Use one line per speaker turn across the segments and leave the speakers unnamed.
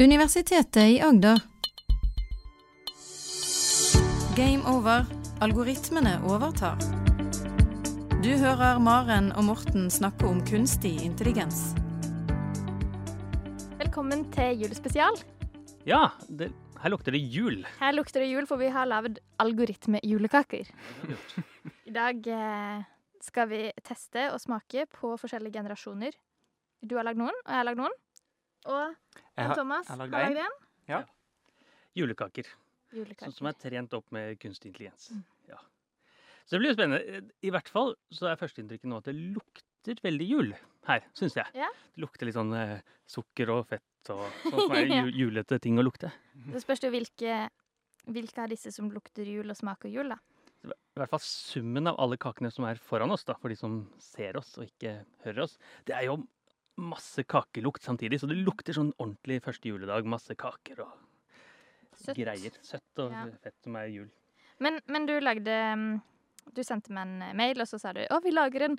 Universitetet i Agder. Game over. Algoritmene overtar. Du hører Maren og Morten snakke om kunstig intelligens.
Velkommen til julespesial.
Ja, det, her lukter det jul.
Her lukter det jul, for vi har lagd algoritmejulekaker. I dag eh, skal vi teste og smake på forskjellige generasjoner. Du har lagd noen, og jeg har lagd noen. Og
Jeg har,
Thomas
jeg
har
har lagd
lagd en.
Julekaker. Sånn som
Julekaker. Mm.
er trent opp med kunstig intelligens. Ja. Så det blir jo spennende. I hvert fall så er førsteinntrykket nå at det lukter veldig jul her, syns jeg.
Ja.
Det lukter litt sånn eh, sukker og fett og sånn som er
Ja.
ju- julete ting å lukte.
Det spørs jo hvilke, hvilke av disse som lukter jul og smaker jul, da.
I hvert fall summen av alle kakene som er foran oss, da, for de som ser oss og ikke hører oss. Det er jo masse kakelukt samtidig, så det lukter sånn ordentlig første juledag. Masse kaker og
Søtt.
greier. Søtt og
Ja.
fett som er jul.
Men, men du lagde mm, Du sendte meg en eh, mail, og så sa du å, vi lager en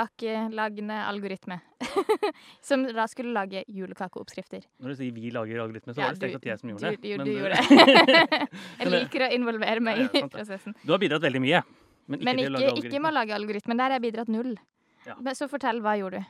julekakelagende algoritme. som da skulle lage julekakeoppskrifter.
Når du sier vi lager algoritme, så
Ja,
var det strengt
du-
tatt jeg som gjorde
du-
det.
du-
men-
du gjorde det. Jeg
Men det-
liker å involvere meg
Ja, ja,
i
sant det.
prosessen.
Du har bidratt veldig mye. Men ikke,
Men
til å
ikke,
lage
ikke med å
algoritme.
lage algoritmen. Der har jeg bidratt null.
Ja.
Men så fortell, hva gjorde du?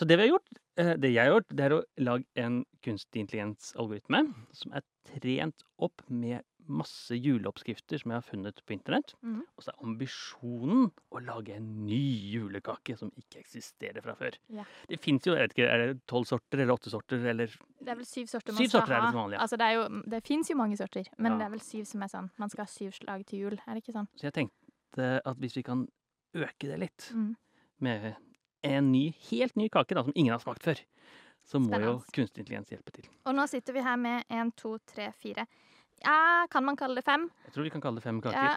Så det vi har gjort, eh, det jeg har gjort, det er å lage en kunstig intelligens-algoritme som er trent opp med masse juleoppskrifter som jeg har funnet på internett.
Mhm.
Og så er ambisjonen å lage en ny julekake som ikke eksisterer fra før.
Ja.
Det fins jo jeg vet ikke, er det tolv sorter eller åtte sorter eller
Det er vel syv sorter man
Syv
skal
sorter er det
ha.
som vanlig, ja.
Altså, det er jo, det fins jo mange sorter, men
Ja.
det er vel syv som er sånn. Man skal ha syv slag til jul, er det ikke sånn?
Så jeg tenkte at hvis vi kan øke det litt
Mhm.
med en ny, helt ny kake da, som ingen har smakt før, så må jo
Spennende.
kunstig intelligens hjelpe til.
Og nå sitter vi her med én, to, tre, fire. Ja, kan man kalle det fem?
Jeg tror vi kan kalle det fem kaker.
Ja.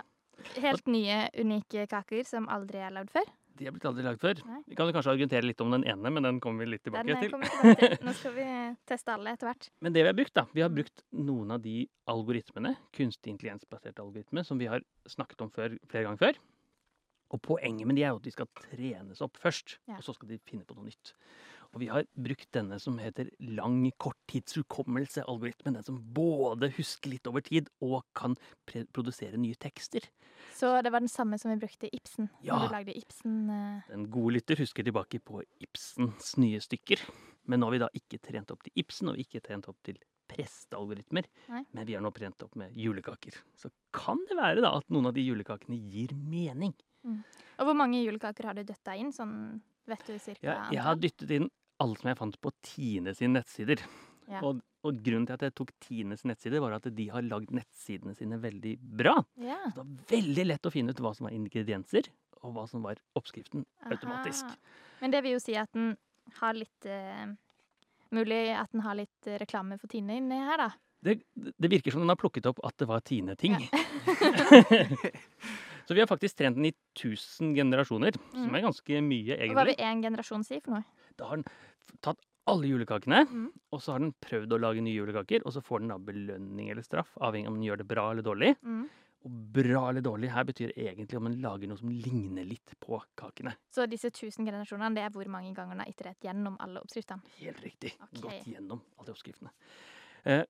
Helt nye, unike kaker som aldri er lagd før.
De er blitt aldri lagd før.
Nei.
Vi kan jo kanskje argumentere litt om den ene, men den kommer vi litt tilbake
Den eh,
til.
kommer vi tilbake til. Nå skal vi teste alle etter hvert.
Men det vi har brukt, da, vi har brukt noen av de algoritmene, kunstig intelligensbaserte algoritmer, som vi har snakket om før, flere ganger før. Og poenget med de er jo at de skal trenes opp først,
Ja.
og så skal de finne på noe nytt. Og vi har brukt denne som heter lang korttidshukommelse-algoritmen. Den som både husker litt over tid, og kan pre produsere nye tekster.
Så det var den samme som vi brukte i Ibsen.
Ja.
Når du lagde Ibsen eh,
Den gode lytter husker tilbake på Ibsens nye stykker. Men nå har vi da ikke trent opp til Ibsen, og ikke trent opp til prestealgoritmer.
Nei.
Men vi har nå trent opp med julekaker. Så kan det være da at noen av de julekakene gir mening.
Og hvor mange julekaker har du døtta inn? Sånn, vet du cirka?
Jeg, jeg har
antall?
dyttet inn alle som jeg fant på Tine sine nettsider.
Ja.
Og, og grunnen til at jeg tok Tines nettsider, var at de har lagd nettsidene sine veldig bra.
ja.
Så det var veldig lett å finne ut hva som var ingredienser, og hva som var oppskriften automatisk.
Aha. Men det vil jo si at den har litt eh, Mulig at den har litt eh, reklame for Tine inni her, da.
Det, det virker som den har plukket opp at det var Tine-ting. så vi har faktisk trent den i 1000 generasjoner, som
Mm.
er ganske
Og
mye,
hva
egentlig.
vil én generasjon si for noe?
Da har den f- tatt alle julekakene,
Mm.
og så har den prøvd å lage nye julekaker, og så får den da belønning eller straff, avhengig av om den gjør det bra eller dårlig.
Mm.
Og bra eller dårlig her betyr egentlig om den lager noe som ligner litt på kakene.
Så disse 1000 generasjonene, det er hvor mange ganger den har iterert gjennom alle oppskriftene.
Helt riktig.
Ok.
Gått gjennom alle de oppskriftene. Eh,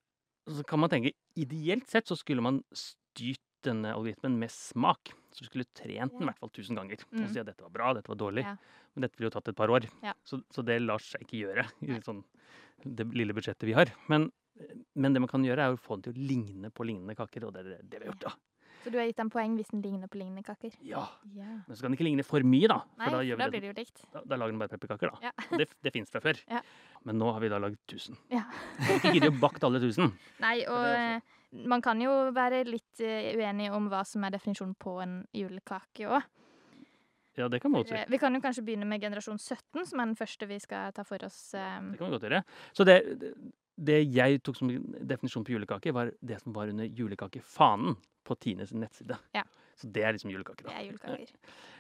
så kan man tenke, ideelt sett så skulle man styrt denne algoritmen med smak. Så du skulle trent den i
Ja.
hvert fall 1000 ganger.
Mm.
Og si at dette var bra, dette var dårlig.
Ja.
Men dette ville jo tatt et par år.
Ja.
Så, så det lar seg ikke gjøre
Nei.
i sånn, det lille budsjettet vi har. Men, men det man kan gjøre, er å få den til å ligne på lignende kaker, og det er det- det vi har gjort, da.
Så du har gitt den poeng hvis den ligner på lignende kaker?
Ja.
Ja.
Men så kan den ikke ligne for mye, da. For
Nei,
da, gjør vi
blir
det,
det jo likt.
da, da lager den bare pepperkaker, da.
Ja.
Og det, det fins fra før.
Ja.
Men nå har vi da lagd 1000.
Ja.
Vi har ikke giddet å bakt alle 1000.
Nei, og
også-
eh, man kan jo være litt eh, uenig om hva som er definisjonen på en julekake òg.
Ja, det kan man godt si.
Eh, Vi kan jo kanskje begynne med generasjon 17, som er den første vi skal ta for oss.
Det
eh,
kan vi godt gjøre. Så det, det jeg tok som definisjon på julekake, var det som var under julekakefanen på Tines nettside.
Ja.
Så det er liksom julekake,
Det
da.
er julekaker.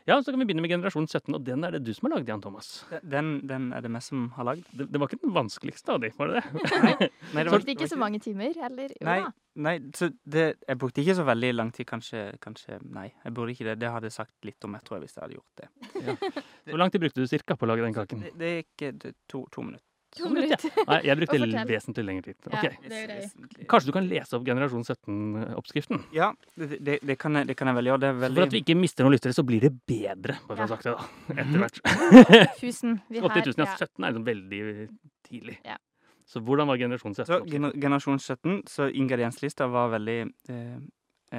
Ja, så kan vi begynne med generasjon 17, og den er det du som har lagd, Jan Thomas.
den, den er det meg som har lagd.
Det, det var ikke den vanskeligste av de, var det det?
Nei,
Du
var-
brukte ikke så mange timer, eller? Jo
Nei,
da.
nei så det, jeg brukte ikke så veldig lang tid, kanskje, kanskje Nei, jeg burde ikke det. Det hadde jeg sagt litt om, jeg tror, hvis jeg hadde gjort det.
Hvor lang tid brukte du cirka på å lage den kaken?
Det, det gikk eh, det- to, to minutter.
To
minutter.
minutter.
Nei, jeg brukte
Og fortell.
vesentlig lengre tid.
Ja.
Ok.
Det gjør jeg.
Kanskje du kan lese opp generasjon 17-oppskriften?
Ja, det, det, det, kan jeg, det kan jeg vel gjøre. Det er
Så For at
veldig
vi ikke mister noen lyttere, så blir det bedre.
Ja.
Bare for å ha sagt det, da. Etter hvert.
1000. Vi
80 000, ja.
ja.
17 er liksom veldig tidlig.
Ja.
Så hvordan var generasjon 17?
Så
oppskriften?
gener generasjon 17, så ingredienslista var veldig eh,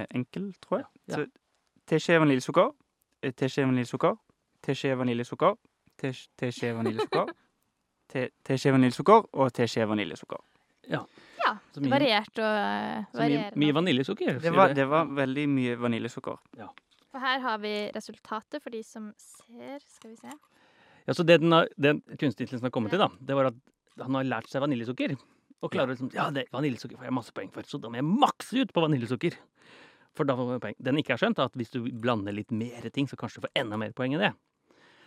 eh, enkel, tror jeg.
Ja.
Så teskje vaniljesukker, eh, teskje vaniljesukker, teskje vaniljesukker, tes- teskje vaniljesukker, te- teskje vaniljesukker og teskje vaniljesukker.
Så
Det
mye,
Variert og eh,
så mye,
varierende.
mye vaniljesukker.
Det var, det var veldig mye vaniljesukker.
Og her har vi resultatet for de som ser. Skal vi se.
Ja, så det den, har, den kunstig intelligensen har kommet til, da, det var at han har lært seg vaniljesukker. Og klarer liksom Ja, det, vaniljesukker får jeg masse poeng for, så da må jeg makse ut på vaniljesukker. For da får man poeng. Den ikke har skjønt, er at hvis du blander litt mer ting, så kanskje du får enda mer poeng enn det.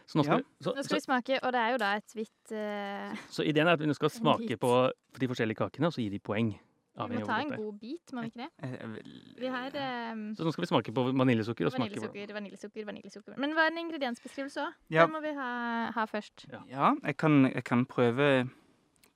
Så, nå skal,
Ja.
vi- så,
Nå
så,
skal vi smake, og det er jo da et hvitt eh,
så ideen er at vi nå skal
En
smake
bit.
på de forskjellige kakene, og så gi de poeng.
Vi
avhengig
må
av
ta
hvor
en
godt det er.
god bit, må vi ikke det?
Eh, eh, vel-
Vi har eh,
Så nå skal vi smake på vaniljesukker. og smake på
vaniljesukker, vaniljesukker, vaniljesukker. Men hva er en ingrediensbeskrivelse òg?
Ja.
Den må vi ha, ha først.
Ja, jeg kan, jeg kan prøve,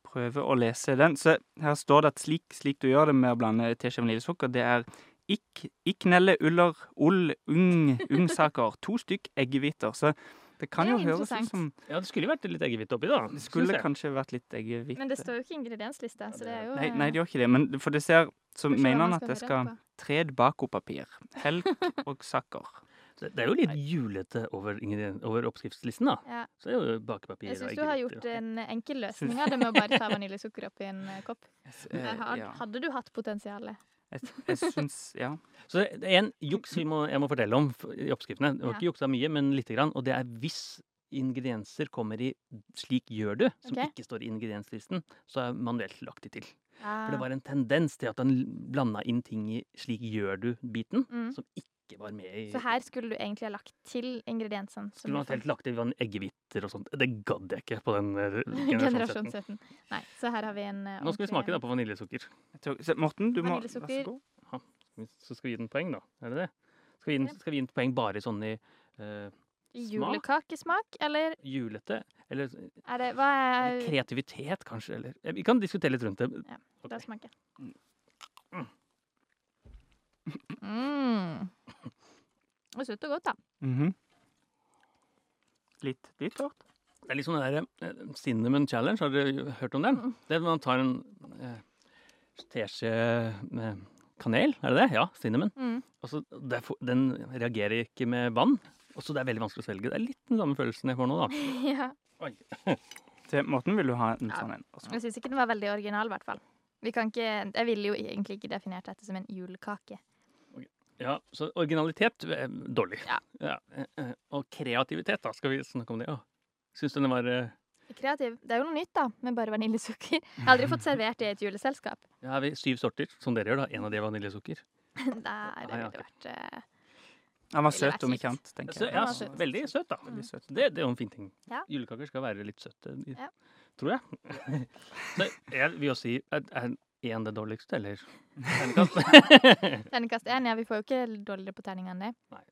prøve å lese den. Så her står det at slik, slik du gjør det med å blande teskje vaniljesukker, det er ikk, ikknelle, uller, ull, ung, ungsaker, to stykk eggehviter. Så det kan
Det er
jo høres
interessant.
ut som
Ja, det skulle jo vært litt eggehvite oppi, da.
Det
synes
skulle
jeg.
kanskje vært litt eggehvite.
Men det står jo
eh,
ikke ingredienslista, så det er jo
Nei,
eh,
nei, det gjør ikke det. Men for det ser Så
spørs hva
mener han
man
at jeg
høre
skal tre bakopapir, helk og sakker.
Så Det er jo litt julete over, ingrediens- over oppskriftslisten, da.
på. Ja.
Så det er jo bakepapir
Jeg syns
og
du har
eggehviter
gjort eh, en enkel løsning av det med å bare ta vaniljesukker oppi en eh, kopp. Der
Eh,
har,
ja.
hadde du hatt potensialet.
Jeg, jeg syns Ja.
Så det er en juks vi må, jeg må fortelle om f- i oppskriftene. Det var
Ja.
ikke juksa mye, men lite grann. Og det er hvis ingredienser kommer i 'slik gjør du', som
Ok.
ikke står i ingredienslisten, så er manuelt lagt det til. For
Ah.
det var en tendens til at han blanda inn ting i 'slik gjør du'-biten,
Mm.
som ikke var med i
Så her skulle du egentlig ha lagt til ingrediensene. som
Skulle man
du fant.
helt lagt i vann- eggehviter og sånt. Det gadd jeg ikke på den eh,
Generasjon
generasjonen.
17. Nei, så her har vi en eh,
Nå skal vi smake da på vaniljesukker.
Jeg tror- så Morten, du må Vær
Vaniljesukker.
så god.
Så skal vi gi den poeng, da. Er det det? Skal vi gi den,
Ja.
skal vi gi den poeng bare sånn i eh,
ordentlig Julekakesmak, eller
julete? Eller
er det Hva er
Eller kreativitet, kanskje? Eller? Eh, Vi kan diskutere litt rundt det.
Ja,
Ok.
Da smaker jeg.
Mm.
Mm. Det var Søtt og godt, da.
Mhm. Litt litt tørt.
Det er litt sånn den der eh, Cinnamon Challenge, har dere jo hørt om den?
Mm.
Det er at Man tar en eh, teskje med kanel, er det det? Ja, cinnamon.
Mm.
Og så det er for- den reagerer ikke med vann, og så det er veldig vanskelig å svelge. Det er litt den samme følelsen jeg får nå, da.
ja.
Til Morten vil du ha en
Ja.
sånn en. Vær så god.
Jeg syns ikke den var veldig original, i hvert fall. Vi kan ikke, jeg ville jo egentlig ikke definert dette som en julekake.
Ja, Så originalitet eh, dårlig.
Ja.
eh, eh, Og kreativitet, da. Skal vi snakke om det? Ja. Syns du den var eh,
Kreativ. Det er jo noe nytt, da, med bare vaniljesukker. Jeg har aldri fått servert det i et juleselskap.
Ja, har vi syv sorter, som dere gjør, da. En av de er vaniljesukker.
Der
Nei,
ville
ok.
det vært eh,
Han var
Ville vært
søt om ikke
kjipt.
annet, tenker
Så,
jeg.
ja,
var
s-
søt. Mm.
veldig søt, da.
Veldig søt.
Det, det er jo en fin ting.
Ja.
Julekaker skal være litt søte, i-
Ja.
tror jeg. Så jeg vil jo si Er er én det dårligste, eller? Terningkast?
Terningkast én. Ja, vi får jo ikke dårligere på terninga enn det.
Nei.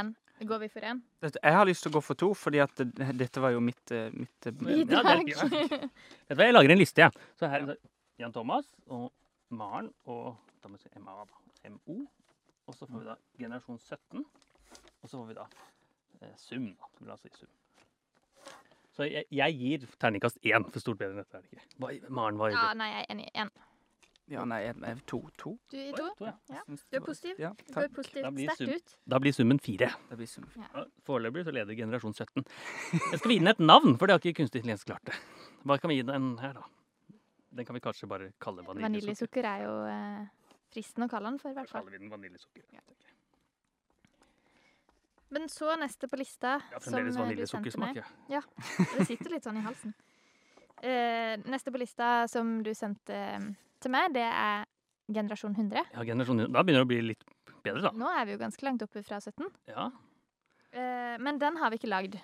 En. Går vi for én?
Dette- Jeg har lyst til å gå for to, fordi at det- dette var jo mitt, eh, mitt
Ja, det
eh,
er
Bidrag.
fint. Vet du hva, jeg lager en liste, jeg. Så her er det Jan Thomas og Maren og da må vi si MA, da. MO. Og så får vi da generasjon 17. Og så får vi da eh, sum, da. La oss si sum. Så jeg, jeg gir terningkast én, for stort bedre enn dette er det ikke. Hva, Maren, hva
ja,
gjør du?
nei, jeg er enig. Én.
Ja, nei, jeg, jeg, to. to.
Du i
Oi,
to?
to, ja.
Ja.
Jeg synes
Du er
det var-
positiv?
Ja,
Du går
takk.
positivt
Da blir
sterkt
sum-
ut.
Da blir summen fire.
Det blir sunt.
Ja, Foreløpig så leder generasjon 17. Jeg skal gi den et navn, for det har ikke kunstig intelligens klart det. Hva kan vi gi den her, da? Den kan vi kanskje bare kalle vaniljesukker.
Vaniljesukker er jo eh, fristende å kalle den for, i
Da
hvert fall.
kaller vi den vaniljesukker. tenker jeg.
Men så neste på lista,
Ja,
som eh,
fremdeles
du sendte meg
vaniljesukkersmak, ja.
Det sitter litt sånn i halsen. Eh, neste på lista som du sendte eh, til meg, det er generasjon 100.
ja. generasjon- Da begynner det å bli litt bedre, da.
Nå er vi jo ganske langt oppe fra 17,
Ja.
eh, men den har vi ikke lagd.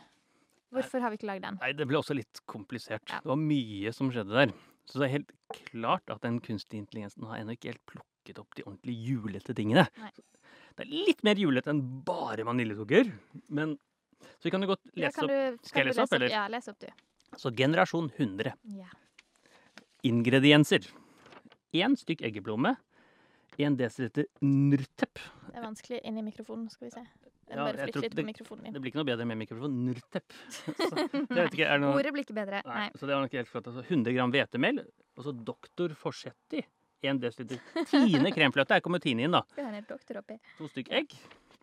Hvorfor har vi ikke lagd den?
Nei, det ble også litt komplisert.
Ja.
Det var mye som skjedde der. Så det er helt klart at den kunstige intelligensen har ennå ikke helt plukket opp de ordentlig julete tingene.
Nei.
Det er litt mer julete enn bare vaniljesukker, men Så vi kan jo godt
Ja,
lese
kan
opp
du, kan
Skal jeg
du
lese opp, eller?
Ja, les opp, du.
Så generasjon 100.
Ja.
Ingredienser. Én stykk eggeplomme. 1 dl nurtep.
Det er vanskelig inn i mikrofonen. skal vi se. Jeg
Ja,
må
jeg
bare
tror
flytte litt
det-
på mikrofonen min.
Det blir ikke noe bedre med mikrofon. Nurtep. Så, jeg vet ikke, er det noe...
Ordet blir ikke bedre. Nei.
Nei, så det var nok helt flott. Altså, 100 gram hvetemel, og så doktor Forsetti. 1 dl Tine kremfløte. Her kommer Tine inn, da.
Skal vi ha en hel doktor oppi.
To stykk egg.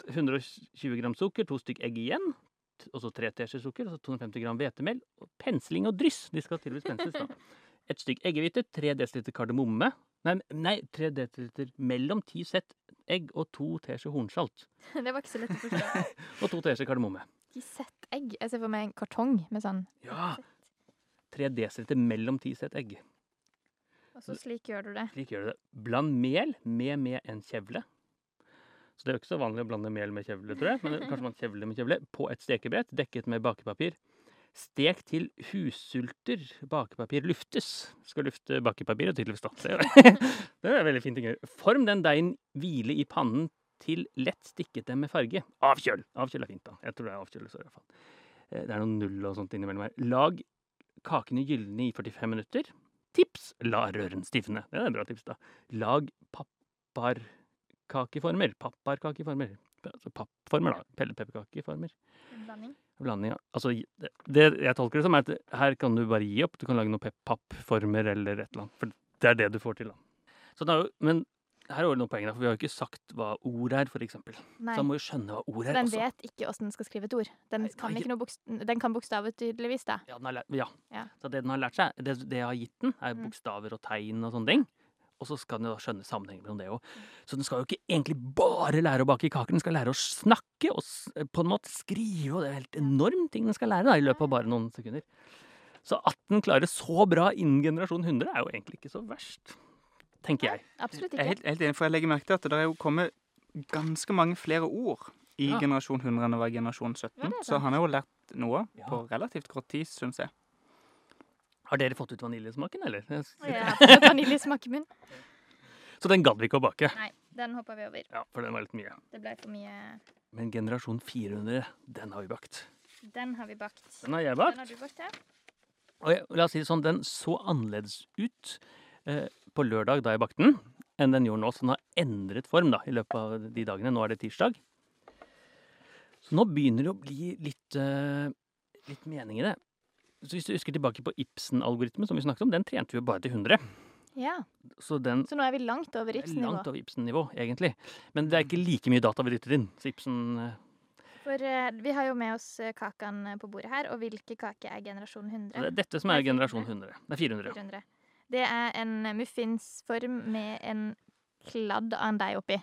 120 gram sukker, to stykk egg igjen. t- Og så tre teskjeer sukker, og så 250 gram hvetemel. og Pensling og dryss. De skal tydeligvis pensles, da. Et stykk eggehvite, 3 dl kardemomme. Nei, nei 3 dl mellom 10 sett egg og 2 teskjeer hornsalt.
Det var ikke så lett å forstå.
Og 2 teskjeer kardemomme.
Gisett egg. Jeg ser for meg en kartong med sånn.
Ja! 3 dl mellom 10 sett egg.
Og så slik gjør du det.
Slik gjør du det. Bland mel med med en kjevle. Så det er jo ikke så vanlig å blande mel med kjevle, tror jeg. Men det- kanskje man kjevle med kjevle. På et stekebrett dekket med bakepapir. Stek til hussulter bakepapir luftes. Skal lufte bakepapiret, tydeligvis. da. Det er- det er veldig fint å gjøre. Form den deigen hvile i pannen til lett stikket den med farge. Avkjøl! Avkjøl er fint, da. Jeg tror det er avkjølelse i hvert fall. Eh, Det er noen null og sånt innimellom her. Lag kakene gylne i 45 minutter. Tips! La røren stivne. Det er et bra tips, da. Lag papparkakeformer. Papparkakeformer. Altså pappformer, da. Pelle pepperkakeformer.
En blanding.
Blanding av Altså, det det jeg tolker det som, er at her kan du bare gi opp. Du kan lage noen pep- pappformer eller et eller annet. For det er det du får til, da. Så det er jo, men her er jo noen poeng, da, for vi har jo ikke sagt hva ord er, for eksempel.
Nei.
Så man må jo skjønne hva ord er
Den
også.
vet ikke åssen den skal skrive et ord. Den
Nei,
kan,
nei.
ikke noe bokst den kan bokstavet tydeligvis, da.
Ja, den har lært, ja.
Ja.
Så det den har lært seg, det, det jeg har gitt den, er
Mm.
bokstaver og tegn og sånne ting. Og så skal den jo da skjønne sammenhengen mellom det òg.
Mm.
Så den skal jo ikke egentlig bare lære å bake kaker, den skal lære å snakke og s- på en måte skrive, og det er helt enormt ting den skal lære da, i løpet av bare noen sekunder. Så at den klarer så bra innen generasjon 100 er jo egentlig ikke så verst, tenker jeg.
Absolutt
Jeg er
ikke.
helt, helt enig, for jeg legger merke til at det er jo kommet ganske mange flere ord i
Ja.
generasjon 100 enn det var i generasjon 17.
Ja, det er
så
sant.
han har jo lært noe
Ja.
på relativt kort tid, syns jeg.
Har dere fått ut vaniljesmaken, eller? Jeg s-
Jeg har fått vaniljesmak i munnen.
Så den gadd vi ikke å bake.
Nei, den hoppa vi over.
Ja, for den var litt mye.
Det ble for mye.
Men generasjon 400, den har vi bakt.
Den har vi bakt.
Den har jeg bakt.
Den har du bakt, ja.
Og jeg, la oss si det sånn, den så annerledes ut eh, på lørdag da jeg bakte den, enn den gjorde nå. Så den har endret form da, i løpet av de dagene. Nå er det tirsdag. Så nå begynner det å bli litt, eh, litt mening i det. Så hvis du husker tilbake på Ibsen-algoritmen, som vi snakket om, den trente vi jo bare til 100.
ja.
Så den
Så nå er vi langt over
er langt
Ibsen-nivå.
over Ibsen-nivå, egentlig. Men det er ikke like mye data vi dytter inn. Så Ibsen eh,
For eh, vi har jo med oss eh, kakene på bordet her, og hvilke kaker er generasjon
så Det
100?
er dette som er generasjon 100. Det er 400.
400. Det er en muffinsform med en kladd av en deig oppi.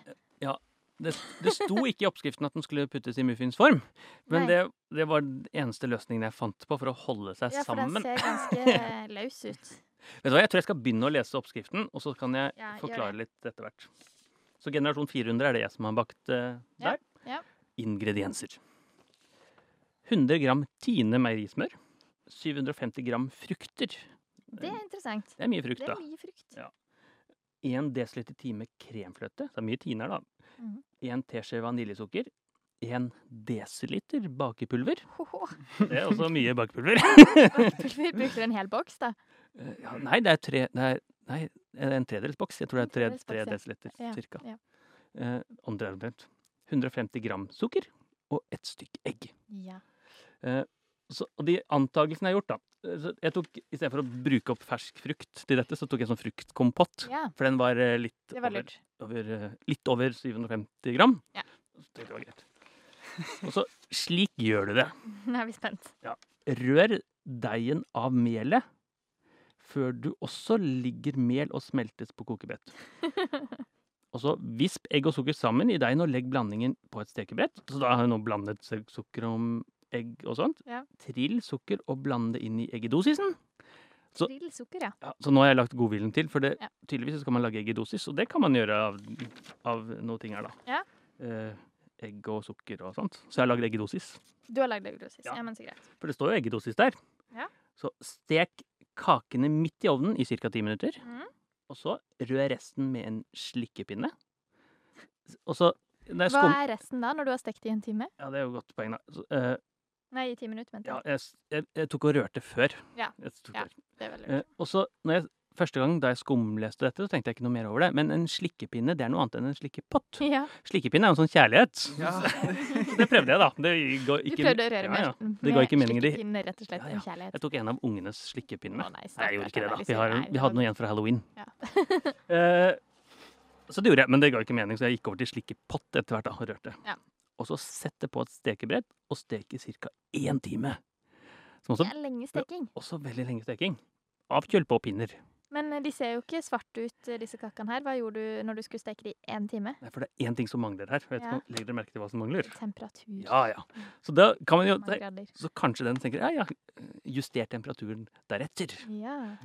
Det, det sto ikke i oppskriften at den skulle puttes i muffinsform. Men
Nei.
det, det var den eneste løsningen jeg fant på for å holde seg
Ja, for den
sammen.
ser ganske eh, løs ut.
Vet du hva, Jeg tror jeg skal begynne å lese oppskriften, og så kan jeg
Ja, gjør
forklare litt etter hvert. Så generasjon 400 er det jeg som har bakt eh,
Ja,
der.
ja.
Ingredienser. 100 gram Tine meierismør. 750 gram frukter.
Det er interessant.
Det er mye frukt,
Det
da.
er mye frukt.
1 dl time kremfløte. Det er mye tiner, da.
Mhm.
1 teskje vaniljesukker. 1 dl bakepulver.
Hoho.
Det er også mye bakepulver.
Vi brukte en hel boks, da.
Eh, Ja, nei, det er tre det er, Nei, er det en tredelsboks. Jeg tror det
En
er tre, tre
tredelsboks,
desiliter,
Ja,
cirka.
ja.
Eh, andre er omtrent. 150 gram sukker og ett stykk egg. Eh,
Ja.
Så, og de antakelsene jeg har gjort, da eh, så jeg tok, I stedet for å bruke opp fersk frukt til dette, så tok jeg sånn fruktkompott.
ja.
For den var eh, litt
Det var
over,
lurt.
over, eh, litt over 750 gram.
Ja.
Så tenkte jeg det var greit. Og så slik gjør du det.
Nå er vi spent.
Rør deigen av melet før du også ligger mel og smeltes på kokebrett. Og så Visp egg og sukker sammen i deigen og legg blandingen på et stekebrett. Så da har jeg nå blandet suk- sukker og egg og sånt.
Ja.
Trill sukker og bland det inn i eggedosisen. Så-
Drill sukker, ja.
Ja, så nå har jeg lagt godviljen til, for det,
Ja.
tydeligvis så skal man lage eggedosis, og det kan man gjøre av, av noen ting her, da.
Ja.
Eh, egg og sukker og sånt. Så jeg har lagd eggedosis.
Du har lagd eggedosis.
Ja.
Ja, men så greit.
For det står jo eggedosis der.
Ja.
Så stek kakene midt i ovnen i ca. 10 minutter.
Mhm.
Og så rør resten med en slikkepinne. Og så Nei,
Hva
skum...
er resten da, når du har stekt i en time?
Ja, det er jo et godt poeng, da. Så, eh,
Nei, i ti minutter, mente
ja,
jeg.
jeg, s- jeg, jeg tok og rørte før.
Ja.
Jeg tok
Ja.
før.
Det er veldig
Eh,
lurt.
og så når jeg Første gang da jeg skumleste dette, så tenkte jeg ikke noe mer over det. Men en slikkepinne det er noe annet enn en slikkepott.
Ja.
Slikkepinne er jo en sånn kjærlighet. Det prøvde jeg, da. Det ga
Du
ikke,
prøvde å røre med,
Ja, ja. Det ga ikke mening i det.
slikkepinne, rett og slett.
Ja, ja.
En kjærlighet.
Jeg tok en av ungenes slikkepinner.
Å, nei,
Nei, jeg
stakkars,
gjorde ikke
den
det,
er
da.
litt
Vi, har,
sur. Nei,
vi hadde noe igjen fra halloween.
Ja.
Eh, så det gjorde jeg, men det ga ikke mening, så jeg gikk over til slikkepott etter hvert. da, og rørte.
Ja.
Og så sette på et stekebrett og steke i ca. én time. Som
Det
også,
er lenge steking.
også veldig lenge steking. Av kjølpåpinner.
Men eh, de ser jo ikke svarte ut, eh, disse kakene her. Hva gjorde du når du skulle steke de i én time?
Nei, For det er én ting som mangler her. Vet
Ja.
ja. Legger dere merke til hva som mangler?
Temperatur.
Ja, ja. Så da kan man jo
Mange grader.
Så kanskje den tenker ja, ja, juster temperaturen deretter.
Ja.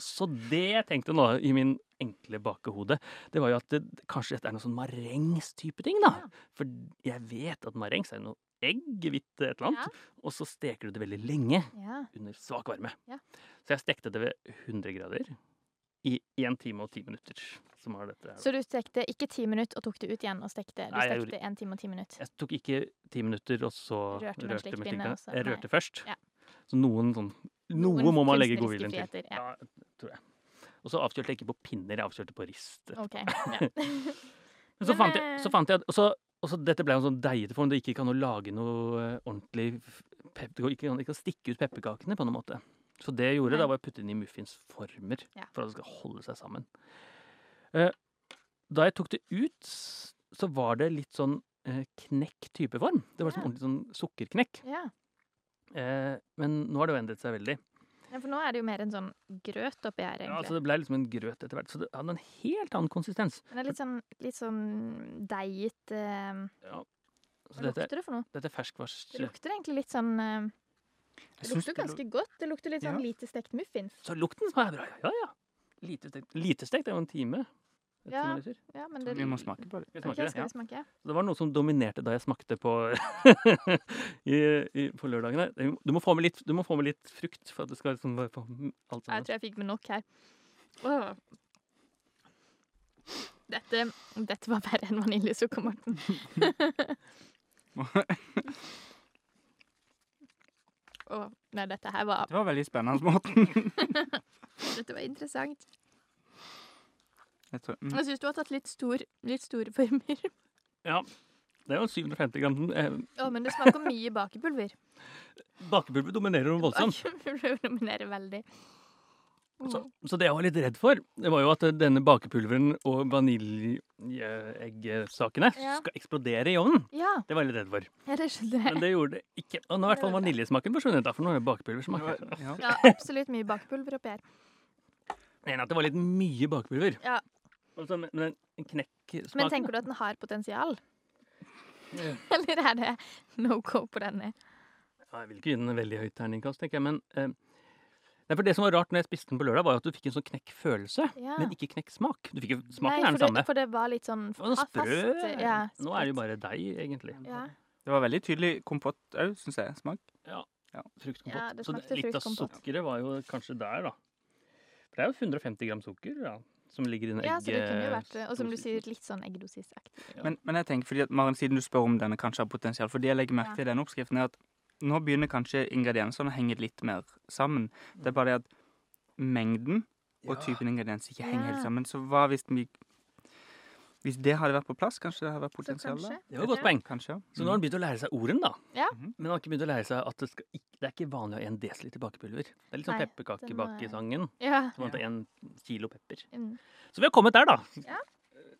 Så det jeg tenkte nå, i min enkle bakehode, det var jo at det, kanskje dette er noe sånn marengs-type ting, da.
Ja.
For jeg vet at marengs er noe egg, hvitt et eller annet. Og så steker du det veldig lenge
ja.
under svak varme.
Ja.
Så jeg stekte det ved 100 grader i én time og ti minutter. Som var dette. her.
Så du stekte ikke ti minutter og tok det ut igjen og stekte? Du
Nei, jeg
stekte en time og ti minutter.
Jeg tok ikke ti minutter, og så
Rørte med
rørte med
slikkepinne
tingene.
også,
Jeg
nei.
rørte først.
Ja.
Så noen sånn Noe
Noen
må man legge
kunstneriske
godviljen til.
friheter, Ja.
Ja, tror jeg. Og så avkjølte jeg ikke på pinner, jeg avkjølte på rist.
Ok. Ja.
Men så
Men,
fant jeg,
eh,
så fant jeg at- og så, og så Dette ble en sånn deigete form. Det gikk ikke an å lage noe eh, ordentlig f- pep, Det går ikke an ikke å stikke ut pepperkakene på noen måte. Så det jeg
Nei.
gjorde, da var å putte inn i muffinsformer
Ja.
for at det skal holde seg sammen. Eh, Da jeg tok det ut, s- så var det litt sånn eh, knekk type form. Det var
Ja.
sånn ordentlig sånn sukkerknekk.
ja.
Eh, Men nå har det jo endret seg veldig.
Ja, For nå er det jo mer en sånn grøt oppi her,
Ja, så
egentlig.
det ble liksom en grøt etter hvert. Så det hadde en helt annen konsistens.
Den er litt sånn, litt sånn deiget eh,
Så
Hva
dette,
lukter det for noe?
dette ferskvars...
Det lukter egentlig litt sånn eh,
Jeg
Det
syns
lukter ganske godt. Det lukter litt sånn
Ja.
lite stekt muffins.
Så lukten som er bra, ja, ja. ja. Lite stekt. Lite stekt er jo en time. Et
Ja.
ti minutter.
Ja, men det
Vi må smake på det.
Skal vi
Ok,
smake det?
skal
Ja.
vi smake?
Så Det var noe som dominerte da jeg smakte på, i, i, på lørdagene. Du må, få med litt, du må få med litt frukt for at det skal liksom være på alt
Jeg
sammen.
tror jeg fikk med nok her. Åh. Dette, dette var verre enn vaniljesukker, Morten. Åh, nei, dette her var
Det var veldig spennende, Morten.
Dette var interessant.
Jeg tror, mm.
Jeg syns du har tatt litt, stor, litt store former.
Det er jo 750 gram. Eh,
Å, men det smaker mye bakepulver.
Bakepulver dominerer noe voldsomt.
Bakepulver dominerer veldig.
Så, så det jeg var litt redd for, det var jo at denne bakepulveren og vaniljeeggsakene
Ja.
skal eksplodere i ovnen.
Ja,
Det var jeg litt redd for.
ja, det skjønner
Men
jeg.
det gjorde det ikke. Og nå har i hvert fall vaniljesmaken forsvunnet, da, for nå er det bakepulversmak. her.
Ja.
Ja, absolutt mye bakepulver oppi her.
Enig at det var litt mye bakepulver.
Ja.
Og så- Altså, men en knekk
Men tenker du at den har potensial?
Mm.
Eller er det no go på denne?
ja, Jeg vil ikke gi den en veldig høyt terningkast, tenker jeg, men eh, Nei, for Det som var rart når jeg spiste den på lørdag, var jo at du fikk en sånn knekkfølelse,
Ja.
men ikke knekksmak. Du fikk jo, smaken
Nei,
er den
for det-
samme.
For det var litt sånn
Det var noe
fa- fast,
sprø.
Ja,
Nå er det jo bare sånn deig, egentlig.
sprø. ja.
Det var veldig tydelig kompott òg, syns jeg. Smak.
Fruktkompott.
Ja, det
så
smakte
litt av
fruktkompott.
sukkeret var jo kanskje der, da. For det er jo 150 gram sukker ja, som ligger i den
ja, så det kunne jo
egge-
vært det. Og som du
dosisen.
sier, litt sånn eggdosisaktig.
Ja.
Men, men jeg tenker, fordi at Maren, siden du spør om denne kanskje har potensial For det jeg legger
Ja.
merke til i denne oppskriften, er at nå begynner kanskje ingrediensene å henge litt mer sammen. Det er bare det at mengden og
Ja.
typen ingredienser ikke henger
Ja.
helt sammen. Så hva hvis vi Hvis det hadde vært på plass, kanskje det hadde vært
Så
sånn
potensial der?
kanskje.
Det var et godt poeng.
Kanskje.
Så nå har han begynt å lære seg ordene, da.
Ja.
Mhm. Men han har ikke begynt å lære seg at det, skal ikke, det er ikke vanlig å ha 1 dl bakepulver. Det er litt sånn
Nei,
pepperkakebakesangen.
Ja.
Som hadde 1 kilo pepper.
Mm.
Så vi har kommet der, da.
Det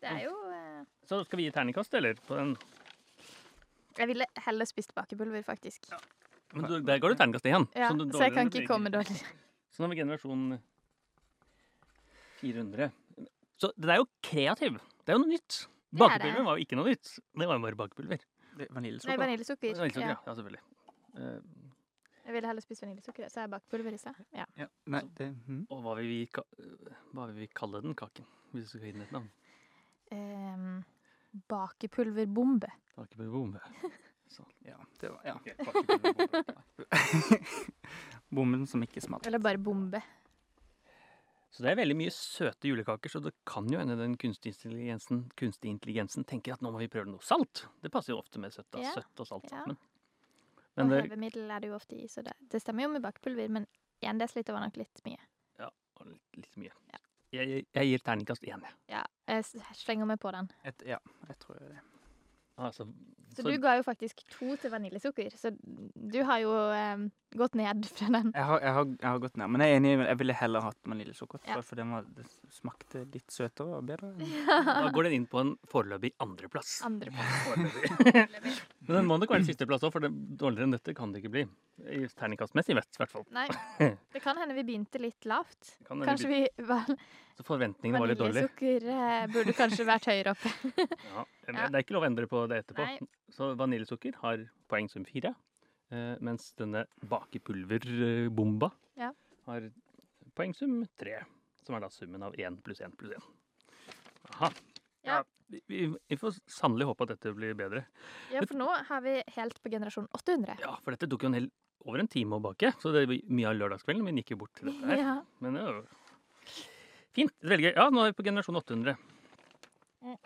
er jo eh,
Så skal vi gi terningkast, eller? På den.
Jeg ville heller spist bakepulver, faktisk.
Men du, der går det terningkast igjen.
Ja,
du-
så jeg kan
dårligere blir
ikke komme dårlig.
Så nå er vi generasjon 400. Så den er jo kreativ. Det er jo noe nytt.
Det er det.
Bakepulver var jo ikke noe nytt. Det var jo bare bakepulver.
Det
Nei,
er Vaniljesukker.
vaniljesukker.
Vaniljesukker,
Ja.
ja. ja, selvfølgelig. Eh,
Jeg ville heller spist vaniljesukker, så er bakepulver i seg. Ja.
Ja. Nei, det mm.
og hva vil, vi, ka- eh, hva vil vi kalle den kaken? Hvis du skal gi den et navn.
Ehm, bakepulverbombe.
Bakepulverbombe.
Ja. Det var, ja.
Ok, bakepulverbombe.
Bommen som ikke smakte.
Eller bare bombe.
Så det er veldig mye søte julekaker, så det kan jo hende den kunstige intelligensen, kunstige intelligensen tenker at nå må vi prøve noe salt. Det passer jo ofte med søtt, da.
Ja,
søtt og salt
ja.
sammen.
Og
Men det,
hevemiddel er det jo ofte i, så det, det stemmer jo med bakepulver, men 1 dl var nok litt mye.
og litt, litt mye. Jeg, jeg gir terningkast én. jeg.
Ja, jeg s- slenger meg på den.
Et, ja, jeg tror det.
Altså,
Så, du ga jo faktisk to til vaniljesukker, så du har jo eh, gått ned fra den.
Jeg har, jeg, har, jeg har gått ned, men jeg er enig, i- jeg ville heller hatt vaniljesukker.
Ja.
For, for den var, det smakte litt søtere og bedre.
Da går den inn på en foreløpig andreplass.
Andre på.
Foreløpig. Men den må nok være sisteplass òg, for det, dårligere enn dette kan det ikke bli. I Terningkastmessig, i hvert fall.
Nei, det kan hende vi begynte litt lavt.
Kan hende
Kanskje vi var
Så forventningene var litt dårlige.
Vaniljesukker eh, burde kanskje vært høyere oppe.
Ja.
Ja.
Det er ikke lov å endre på det etterpå.
Nei.
Så vaniljesukker har poeng som fire, eh, mens denne bakepulverbomba
Ja.
har poeng som tre, som er da summen av én pluss én pluss én. Aha.
Ja.
Vi, vi, vi får sannelig håpe at dette blir bedre.
Ja, for nå har vi helt på generasjon 800.
Ja, for dette tok jo en hel, over en time å bake, så det var mye av lørdagskvelden min gikk jo bort til dette her.
Ja.
Men det er jo fint. Det er Veldig gøy. Ja, nå er vi på generasjon 800.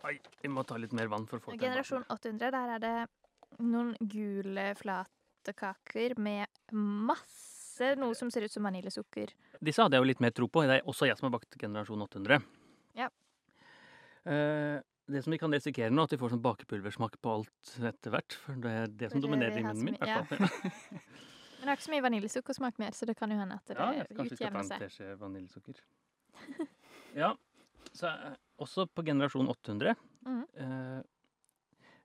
Oi, vi må ta litt mer vann for å
Og
få til en
Mm. Generasjon 800, der er det noen gule flatekaker med masse noe som ser ut som vaniljesukker.
Disse hadde jeg jo litt mer tro på. Det er også jeg som har bakt generasjon 800.
Ja.
Eh, det som vi kan risikere nå, at vi får sånn bakepulversmak på alt etter hvert. For det er det som
For det
dominerer
vi
i
har
munnen min.
så
i
mye-
hvert fall.
Men det er ikke så mye vaniljesukkersmak mer, så det kan jo hende at det
Ja, jeg- kanskje vi skal ta
utjevner
en
seg.
teskje vaniljesukker. ja. Så eh, også på generasjon 800
Mhm.
eh,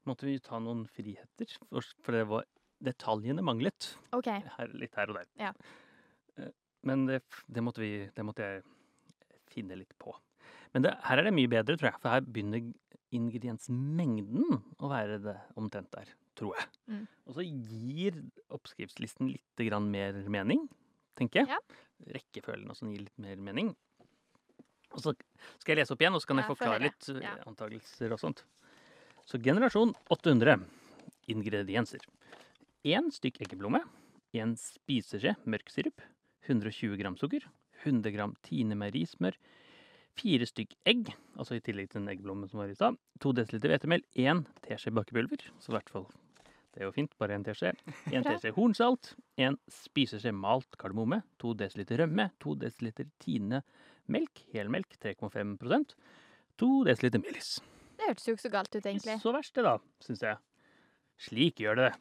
måtte vi ta noen friheter, for, for det var detaljene manglet.
OK.
her, litt her og der.
Ja.
Eh, Men det, det, måtte vi, det måtte jeg finne litt på. Men det, her er det mye bedre, tror jeg. For her begynner ingrediensmengden å være det omtrent der, tror jeg.
Mm.
Og så gir oppskriftslisten litt grann mer mening, tenker jeg.
Ja.
Rekkefølgen og sånn gir litt mer mening. Og så skal jeg lese opp igjen, og så kan jeg
Ja, få
forklare
høre.
litt eh,
Ja.
antagelser og sånt. Så generasjon 800. Ingredienser. Én stykk eggeplomme. En spiseskje mørk sirup, 120 gram sukker, 100 gram Tine meierismør, fire stykk egg, altså i tillegg til den eggeblommen som var i stad, to desiliter hvetemel, én teskje bakepulver, så i hvert fall det er jo fint, bare én teskje, én
Bra.
teskje hornsalt, en spiseskje malt kardemomme, to desiliter rømme, to desiliter Tine melk, helmelk 3,5 to desiliter melis.
Det hørtes jo ikke så galt ut, egentlig.
Ikke så verst det, da, syns jeg. Slik gjør det.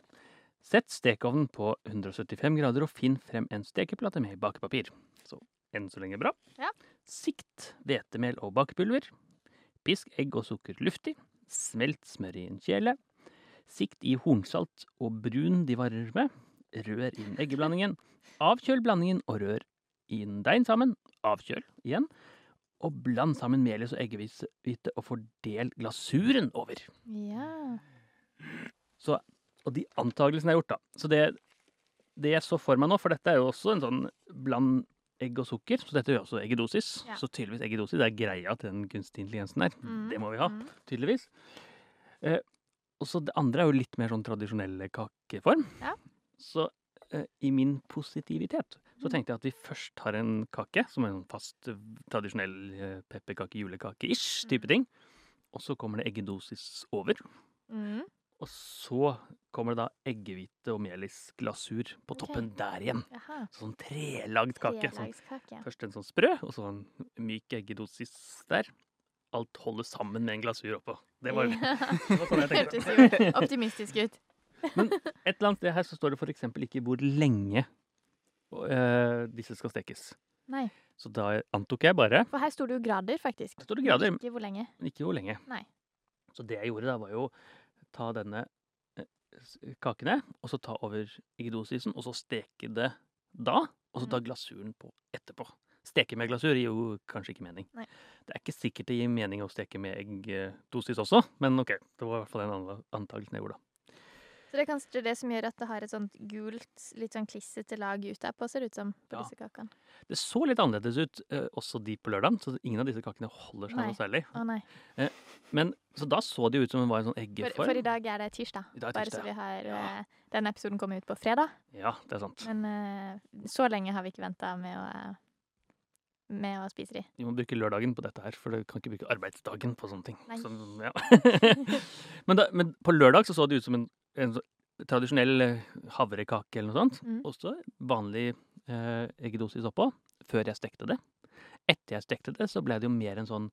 Sett stekeovnen på 175 grader og finn frem en stekeplate med bakepapir. Så enn så lenge bra.
Ja.
Sikt hvetemel og bakepulver. Pisk egg og sukker luftig. Smelt smør i en kjele. Sikt i hornsalt og brun de varer med. Rør inn eggeblandingen. Avkjøl blandingen og rør inn deigen sammen. Avkjøl igjen. Og bland sammen melis og eggehvite og fordel glasuren over.
Ja.
Og de antakelsene jeg har gjort, da. Så det, det jeg så for meg nå, for dette er jo også en sånn bland egg og sukker, så dette er jo også eggedosis.
Ja.
Så tydeligvis eggedosis det er greia til den kunstige intelligensen her.
Mm,
Det må vi ha,
mm.
tydeligvis. Eh, og så det andre er jo litt mer sånn tradisjonelle kakeform.
Ja.
Så eh, i min positivitet så tenkte jeg at vi først har en kake, som er en fast, eh, tradisjonell eh, pepperkake, julekake-ish type
Mm.
ting. Og så kommer det eggedosis over.
Mm.
Og så kommer det da eggehvite og melisglasur på
Ok.
toppen der igjen.
Jaha.
Sånn trelagd kake. Sånn,
Trelagskake.
først en sånn sprø, og så en myk eggedosis der. Alt holder sammen med en glasur oppå. Det var, det var sånn jeg tenkte.
Hørtes jo optimistisk ut.
Et eller annet sted her så står det f.eks. ikke hvor lenge eh, disse skal stekes.
Nei,
Så da antok jeg bare
for her sto det jo grader, faktisk.
Det står det grader,
Men Ikke hvor lenge.
Men ikke hvor lenge.
Nei.
Så det jeg gjorde da, var jo ta denne eh, s- kakene, og så ta over eggedosisen, og så steke det da, og så ta
Mhm.
glasuren på etterpå. Steke med glasur gir jo kanskje ikke mening.
Nei.
Det er ikke sikkert det gir mening å steke med eggdosis også, men ok, det var i hvert fall den anla- antakelsen jeg gjorde da.
Så det er kanskje det som gjør at det har et sånt gult, litt sånn klissete lag utapå, ser det ut som, på
Ja.
disse kakene.
Det så litt annerledes ut, eh, også de på lørdagen, så ingen av disse kakene holder seg
Nei.
noe særlig.
Å nei.
Men, så da så det jo ut som det var en sånn
For,
eggeform.
for i dag er det tirsdag.
I dag er
Bare
tirsdag,
så vi har
Ja.
eh, Den episoden kommer ut på fredag,
Ja, det er sant.
men eh, så lenge har vi ikke venta med, å, eh, med å spise de.
Vi må bruke lørdagen på dette her, for du kan ikke bruke arbeidsdagen på sånne ting.
Nei.
Sånn, ja. men, da, men på lørdag så, så det ut som en, en så- tradisjonell eh, havrekake eller noe sånt.
Mm.
Også vanlig eh, eggedosis oppå, før jeg stekte det. Etter jeg stekte det, så ble det jo mer en sånn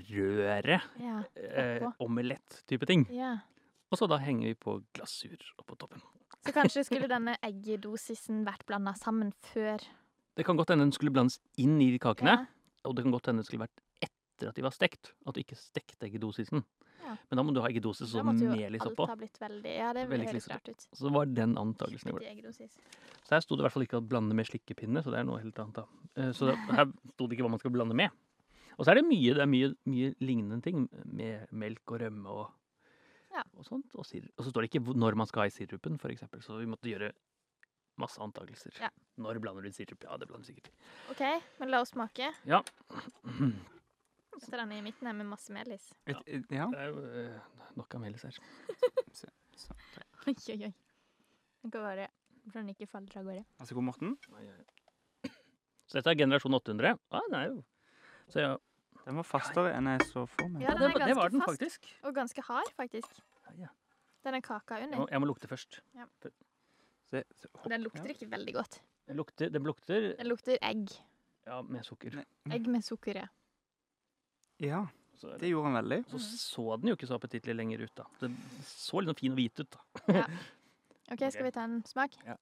eggerøre-omelett-type
Ja.
eh,
Oppå.
type ting.
ja.
Og så da henger vi på glasur oppå toppen.
Så kanskje skulle denne eggedosisen vært blanda sammen før.
Det kan godt hende den skulle blandes inn i de kakene.
Ja.
Og det kan godt hende det skulle vært etter at de var stekt. At du ikke stekte eggedosisen.
Ja.
Men da må du ha eggedosis
Da
og
måtte jo
melis
alt
oppå.
ha blitt veldig Ja, det
Veldig
høres
klissete.
rart ut.
Så det var den antakelsen jeg gjorde.
Skikkelig eggedosis.
Så her sto det i hvert fall ikke å blande med slikkepinne, så det er noe helt annet da. Eh, Så det, her sto det ikke hva man skal blande med. Og så er det mye, det er mye, mye lignende ting med melk og rømme og,
Ja.
og sånt. Og, sirup. og så står det ikke hvor- når man skal ha i sirupen, for eksempel. Så vi måtte gjøre masse antakelser.
Ja.
Når blander du sirup? Ja, det blander du sikkert.
OK, men la oss smake.
Ja.
Dette er denne i midten her med masse melis.
Et, et, ja.
Det er jo eh, nok av melis her.
Så,
Oi, oi, oi. Den går bare så den ikke faller av gårde.
vær så altså god, Morten.
Oi, oi, oi. Så dette er generasjon 800. Ja, den er jo. Så ja,
Den var fastere enn jeg så for meg.
Ja, den er
det, det var
ganske
den
fast.
faktisk.
Og ganske hard, faktisk.
Ja, ja.
Den er kaka
Jeg må,
under.
jeg må lukte først.
Se, se, hopp,
Den lukter ikke veldig godt.
Den lukter, den lukter
Den lukter egg.
ja, med sukker.
Nei.
Egg med sukker, ja.
Ja,
Så,
det gjorde han veldig.
så så den jo ikke så appetittlig lenger ut, da. Den så litt sånn fin og hvit ut. da.
OK, skal vi ta en smak?
Ja.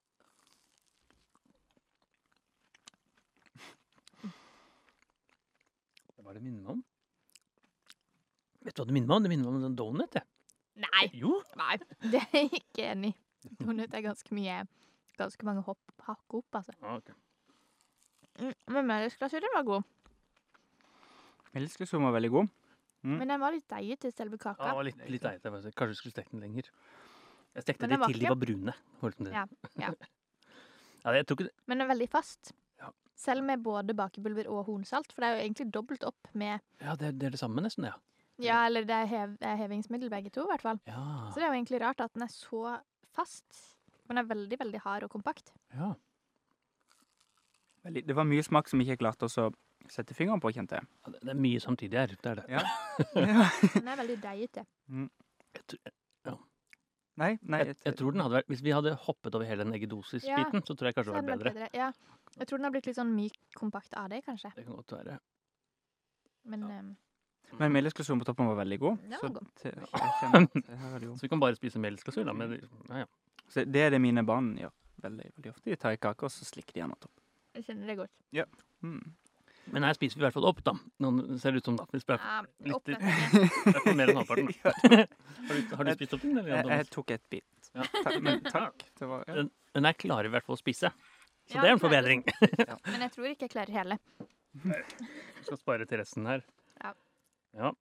Hva er det minner meg om? Vet du hva det minner meg om? Det minner meg om en donut. Jeg.
Nei!
Jo,
Nei, det er jeg ikke enig i. Donut er ganske mye Ganske mange hopp, hakk opp, altså.
ja, ok.
Mm, Men melisglasuren var god.
Melisklesum var veldig god. Mm.
Men den var litt deig til selve
ja, det
kaka.
var litt, litt deilig. det var så- Kanskje du skulle stekt den lenger. Jeg stekte
Men
de
den var
til de
ikke-
var brune. Holdt den til.
Ja, ja.
Ja, jeg tror ikke det-
Men den er veldig fast.
Ja.
Selv med både bakepulver og hornsalt, for det er jo egentlig dobbelt opp med
ja, det, er- det er det samme, nesten. Ja.
Ja, eller det er hev, det er hevingsmiddel, begge to, i hvert fall.
Ja.
Så det er jo egentlig rart at den er så fast. Men den er veldig, veldig hard og kompakt.
ja.
Veldig, det var mye smak som ikke jeg klarte å så sette fingeren på, kjente jeg.
Ja, Det det er mye samtidig her. Det er det.
Den er veldig deigete.
Jeg, tr-
Nei, nei.
jeg, jeg tror den hadde vært, Hvis vi hadde hoppet over hele den eggedosis-biten, så tror jeg kanskje
Så
det
den
hadde
er
vært bedre.
bedre. Ja. Jeg tror den har blitt litt sånn myk, kompakt av det, kanskje.
Det kan godt være.
Men
Ja.
ehm,
Men melisklesum på toppen var veldig god.
Den var
så
god.
til- jeg kjenner at det her er det jo-
Så vi kan bare spise melsklasur, da.
Mm.
Men ja, ja.
Så det er det mine barn gjør veldig, veldig ofte. De tar en kake, og så slikker de den av toppen.
jeg kjenner det godt.
Mm.
Men her spiser vi i hvert fall opp, da. Noen ser det ut som da. Vi spiser
Ja,
litt-
opp med den.
i hvert fall mer enn halvparten. da.
Ja,
Har du, har du spist opp den? Eller,
jeg,
Jan
jeg
Thomas?
tok et bit.
Ja.
Takk, men takk. Det var, ja.
den her klarer i hvert fall å spise. Så
Ja,
det er
den
en
klarer
forbedring.
Men jeg tror ikke jeg klarer hele.
Vi skal spare til resten her.
Ja.
Ja.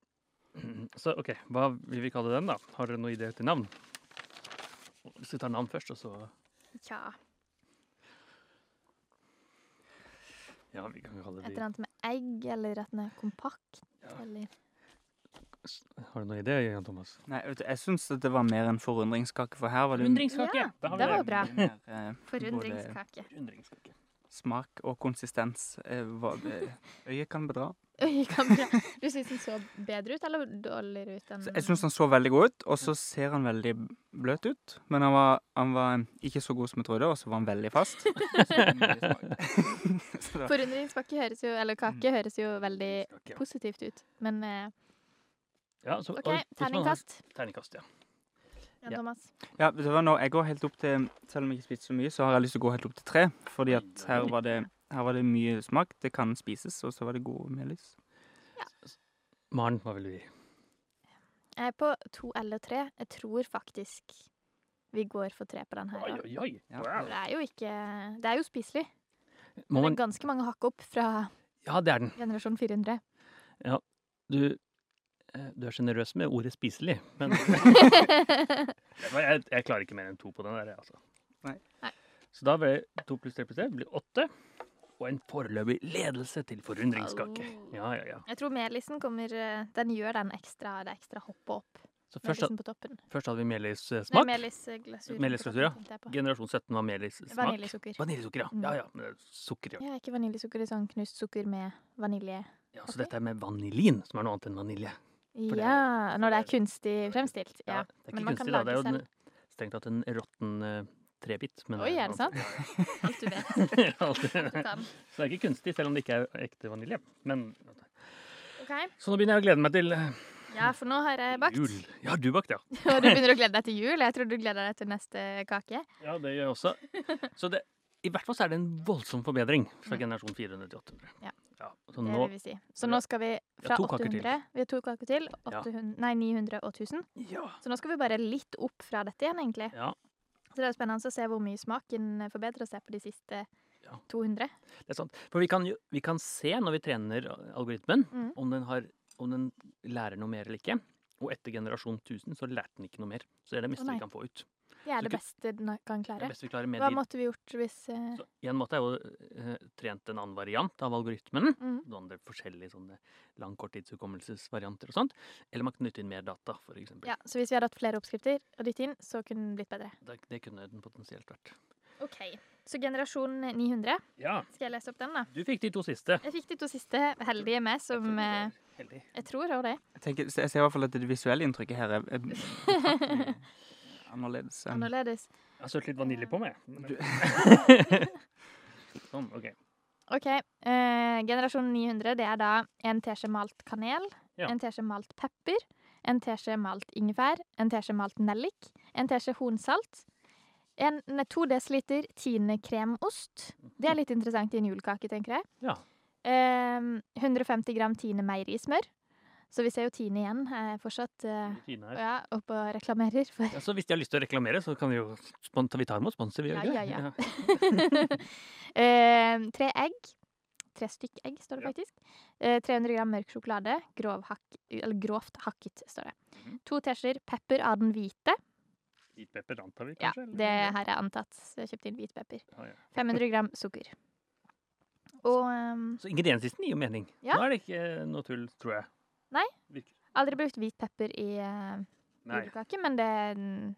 Så OK, hva vil vi kalle den, da? Har dere noen ideer til navn? Hvis vi tar navn først, og så
Tja.
Ja, vi kan kalle
Et
det
eller annet med egg, eller at den er kompakt, eller
Har du noen ideer, Jan Thomas?
Nei, vet du, jeg syns at det var mer en forundringskake, for her var det
Ja,
Da har vi
det var bra.
mer eh, både
Forundringskake.
Forundringskake.
smak og konsistens. Eh, hva- eh, Øyet kan bedra.
Øyekamera. Du syns den så bedre ut, eller dårligere ut enn
Så jeg syns han så veldig god ut, og så ser han veldig bløt ut. Men han var, han var ikke så god som jeg trodde, og så var han veldig fast. Så det var mye smak. Så da-
Forundringspakke høres jo, eller
Mm.
kake høres jo veldig positivt ut. Men eh,
Ja, så,
OK,
og hvis man har-
terningkast.
Terningkast, ja.
Jan
Ja.
Thomas.
ja, det var nå, jeg går helt opp til Selv om jeg ikke spiste så mye, så har jeg lyst til å gå helt opp til tre. Fordi at her var det, her var det mye smak. Det kan spises, og så var det god melis.
Maren, hva vil du gi?
Jeg er på to eller tre. Jeg tror faktisk vi går for tre på den her.
Oi,
også.
oi, oi.
Ja.
For Det er jo ikke Det er jo spiselig.
Må
Det
man,
er ganske mange hakk opp fra
ja, det er den.
generasjon 400.
Du, eh, du er sjenerøs med ordet spiselig, men Nei, jeg, jeg klarer ikke mer enn to på den der, jeg, altså.
Nei.
Nei.
Så da blir det to pluss tre pluss tre blir åtte. Og en foreløpig ledelse til forundringskake.
Au.
Ja, ja, ja.
Jeg tror melisen kommer eh, Den gjør den ekstra, det ekstra hoppet opp.
Så først,
Melisen på toppen.
først hadde vi
Nei,
melissmak.
melisglasur.
Melisglasur, ja.
tenkte jeg på.
Generasjon 17 var melissmak.
Vaniljesukker.
Vaniljesukker, ja.
Mm.
Ja, ja. men det er Sukker, ja.
Ja, ikke vaniljesukker, det er sånn knust sukker med vanilje.
ja.
Ok.
Så dette er med vanilin, som er noe annet enn vanilje. For det-
Ja, når det er
for
kunstig fremstilt. Ja.
Det er ikke
Men man kan
kunstig, da. Det er jo
lage
den, strengt tatt en råtten eh, trebit. men
Oi, er det sant? Alt du vet. Sånn.
Alt
Du
det-
kan.
Så det er ikke kunstig, selv om det ikke er ekte vanilje. Men,
Ok,
så nå begynner jeg å glede meg til eh,
Ja, for nå har jeg bakt.
jul. Ja, du bakte, ja.
Og du begynner å glede deg til jul. Jeg tror du gleder deg til neste kake.
Ja, det gjør jeg også. Så det, i hvert fall så er det en voldsom forbedring fra
Mm.
generasjon 400 til 800.
Ja.
så
Det
nå,
vil vi si. Så nå skal vi fra
to kaker til.
800 Vi har to kaker til. 800, nei, 900 og 1000.
ja.
Så nå skal vi bare litt opp fra dette igjen, egentlig.
Ja.
Så det er spennende å se hvor mye smaken forbedrer seg på de siste
Ja.
200.
Det er sant. For vi kan, jo- vi kan se når vi trener algoritmen,
Mm.
om, den har, om den lærer noe mer eller ikke. Og etter generasjon 1000 så lærte den ikke noe mer. Så det er det meste
nei.
vi kan få ut.
Det er
Så
det beste den kan
Det er
klare.
best vi klarer med
Hva
de.
måtte vi gjort hvis eh,
Så en måte er jo eh, trent en annen variant av algoritmen.
mm,
Sånne forskjellige sånne lang korttidshukommelsesvarianter og sånt. Eller man kan nytte inn mer data, for eksempel.
Ja, så hvis vi hadde hatt flere oppskrifter og dytt inn, så kunne den blitt bedre.
Det, det kunne den potensielt vært.
OK. Så generasjon 900.
Ja,
Skal jeg lese opp den, da?
du fikk de to siste.
Jeg fikk de to siste heldige med, som eh,
Heldig.
jeg tror har det.
Jeg, tenker, jeg ser i hvert fall at det visuelle inntrykket her er, er betraktelig annerledes. enn-
Mm.
Annerledes.
Jeg har sølt litt vanilje på meg.
Du-
sånn, ok.
OK. Eh, generasjon 900, det er da en teskje malt kanel,
Ja.
en teskje malt pepper, en teskje malt ingefær, en teskje malt nellik, en teskje hornsalt, en, nei, to desiliter Tine kremost. Det er litt interessant i en julekake, tenker jeg.
Ja.
Eh, 150 gram Tine meierismør. Så vi ser jo Tine igjen eh, fortsatt eh,
Tine her.
ja, oppe og reklamerer for
Ja, så hvis de har lyst til å reklamere, så kan vi jo spon- ta- Vi tar imot sponsor, vi gjør
Ja, ja,
ikke
ja.
det? Ja.
Eh, tre egg. Tre stykk egg, står det
Ja.
faktisk. Eh, 300 gram mørk sjokolade. Grov hakk, eller grovt hakket, står det.
Mhm.
To teskjeer pepper av den hvite.
Hvit pepper antar vi
Ja,
kanskje? eller?
det her er antatt. Så jeg kjøpte inn hvit pepper.
Ah, Ja, ja.
500 gram sukker. Og ehm,
Så ingredienslisten gir jo mening.
Ja.
Nå er det ikke eh, noe tull, tror jeg.
aldri brukt hvit pepper i eh,
Nei.
julekake, men det mm,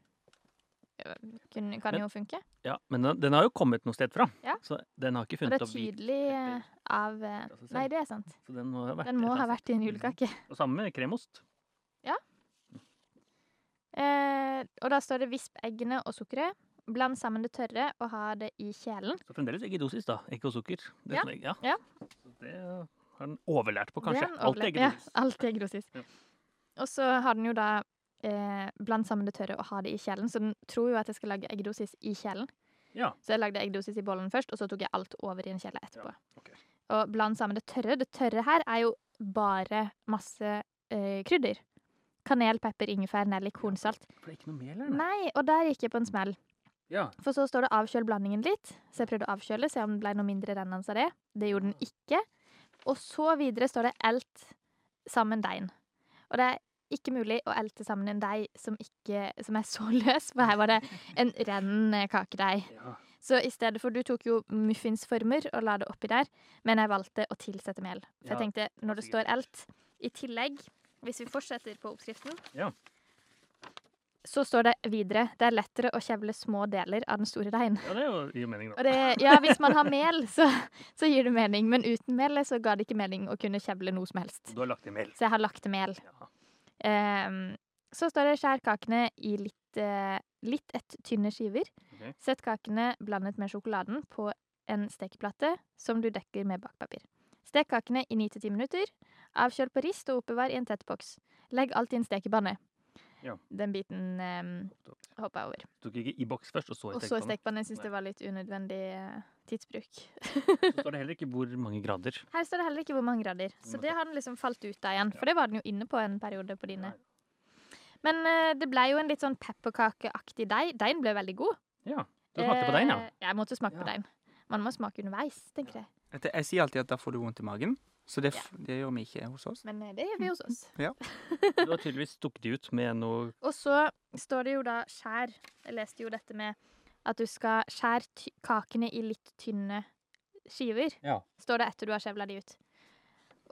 kun, kan
Men-
jo funke.
Ja, men den, den har jo kommet noe sted fra.
Ja.
Så den har ikke
Og det
funnet
er
opp hvit.
tydelig eh,
pepper
av eh,
seg selv.
Nei, det er sant.
Så den må ha vært,
Den må
et
ha
eller
vært i en
Mhm.
julekake.
annet sted. Og samme med kremost.
Eh, og da står det visp eggene og sukkeret. Bland sammen det tørre og ha det i kjelen.
Så fremdeles eggedosis, da. Egg og sukker. Det,
Ja,
som er- ja.
ja.
Så det har den overlært på, kanskje.
Den
Alt
overlever-
er eggedosis.
Ja, alt er eggedosis.
Ja.
Og så har den jo da eh, bland sammen det tørre og ha det i kjelen, så den tror jo at jeg skal lage eggedosis i kjelen.
Ja.
Så jeg lagde eggdosis i bollen først, og så tok jeg alt over i en kjele etterpå.
ok.
Og bland sammen det tørre. Det tørre her er jo bare masse eh, krydder. Kanel, pepper, ingefær, nellik, hornsalt.
For det er ikke noe mel her? nei?
Nei, og der gikk jeg på en smell.
Ja.
For så står det 'avkjøl blandingen litt', så jeg prøvde å avkjøle, se om det ble noe mindre rennende av det. Det gjorde den ikke. Og så videre står det 'elt sammen deigen'. Og det er ikke mulig å elte sammen en deig som, ikke, som er så løs, for her var det en rennende kakedeig.
ja.
Så i stedet for Du tok jo muffinsformer og la det oppi der, men jeg valgte å tilsette mel. For jeg
Ja,
tenkte, når det
sikkert
står elt I tillegg, hvis vi fortsetter på oppskriften
Ja.
Så står det videre det er lettere å kjevle små deler av den store deigen.
ja, det er jo- gir jo mening, da.
Og det, ja, hvis man har mel, så, så gir det mening. Men uten mel så ga det ikke mening å kunne kjevle noe som helst.
Du har lagt i mel.
Så jeg har lagt til mel.
Ja.
Ehm, så står det skjær kakene i litt, eh, litt et tynne skiver.
Ok.
Sett kakene blandet med sjokoladen på en stekeplate som du dekker med bakpapir. Stek kakene i 9-10 minutter. Avkjøl på rist og oppbevar i en tett boks. Legg alt i en stekepanne.
Ja.
Den biten um, hoppa jeg over.
Tok ikke i boks først, og så i
Og så
stekepanne.
stekepanne. Jeg syns
Nei.
det var litt unødvendig eh, tidsbruk.
Så står det heller ikke hvor mange grader.
Her står det heller ikke hvor mange grader. Så
Mm.
det har den liksom falt ut av igjen. For det var den jo inne på en periode på dine. Men eh, det ble jo en litt sånn pepperkakeaktig deig. Deigen ble veldig god.
Ja. Du smakte på deigen, ja?
Eh, Jeg måtte smake
Ja.
på deigen. Man må smake underveis, tenker jeg.
At Jeg, jeg sier alltid at da får du vondt i magen, så det, f- det gjør vi ikke hos oss.
Men eh, det gjør vi hos oss.
Du har tydeligvis stukket de ut med noe
Og så står det jo da skjær. Jeg leste jo dette med at du skal skjære ty kakene i litt tynne skiver.
Ja.
Står det etter du har skjevla de ut.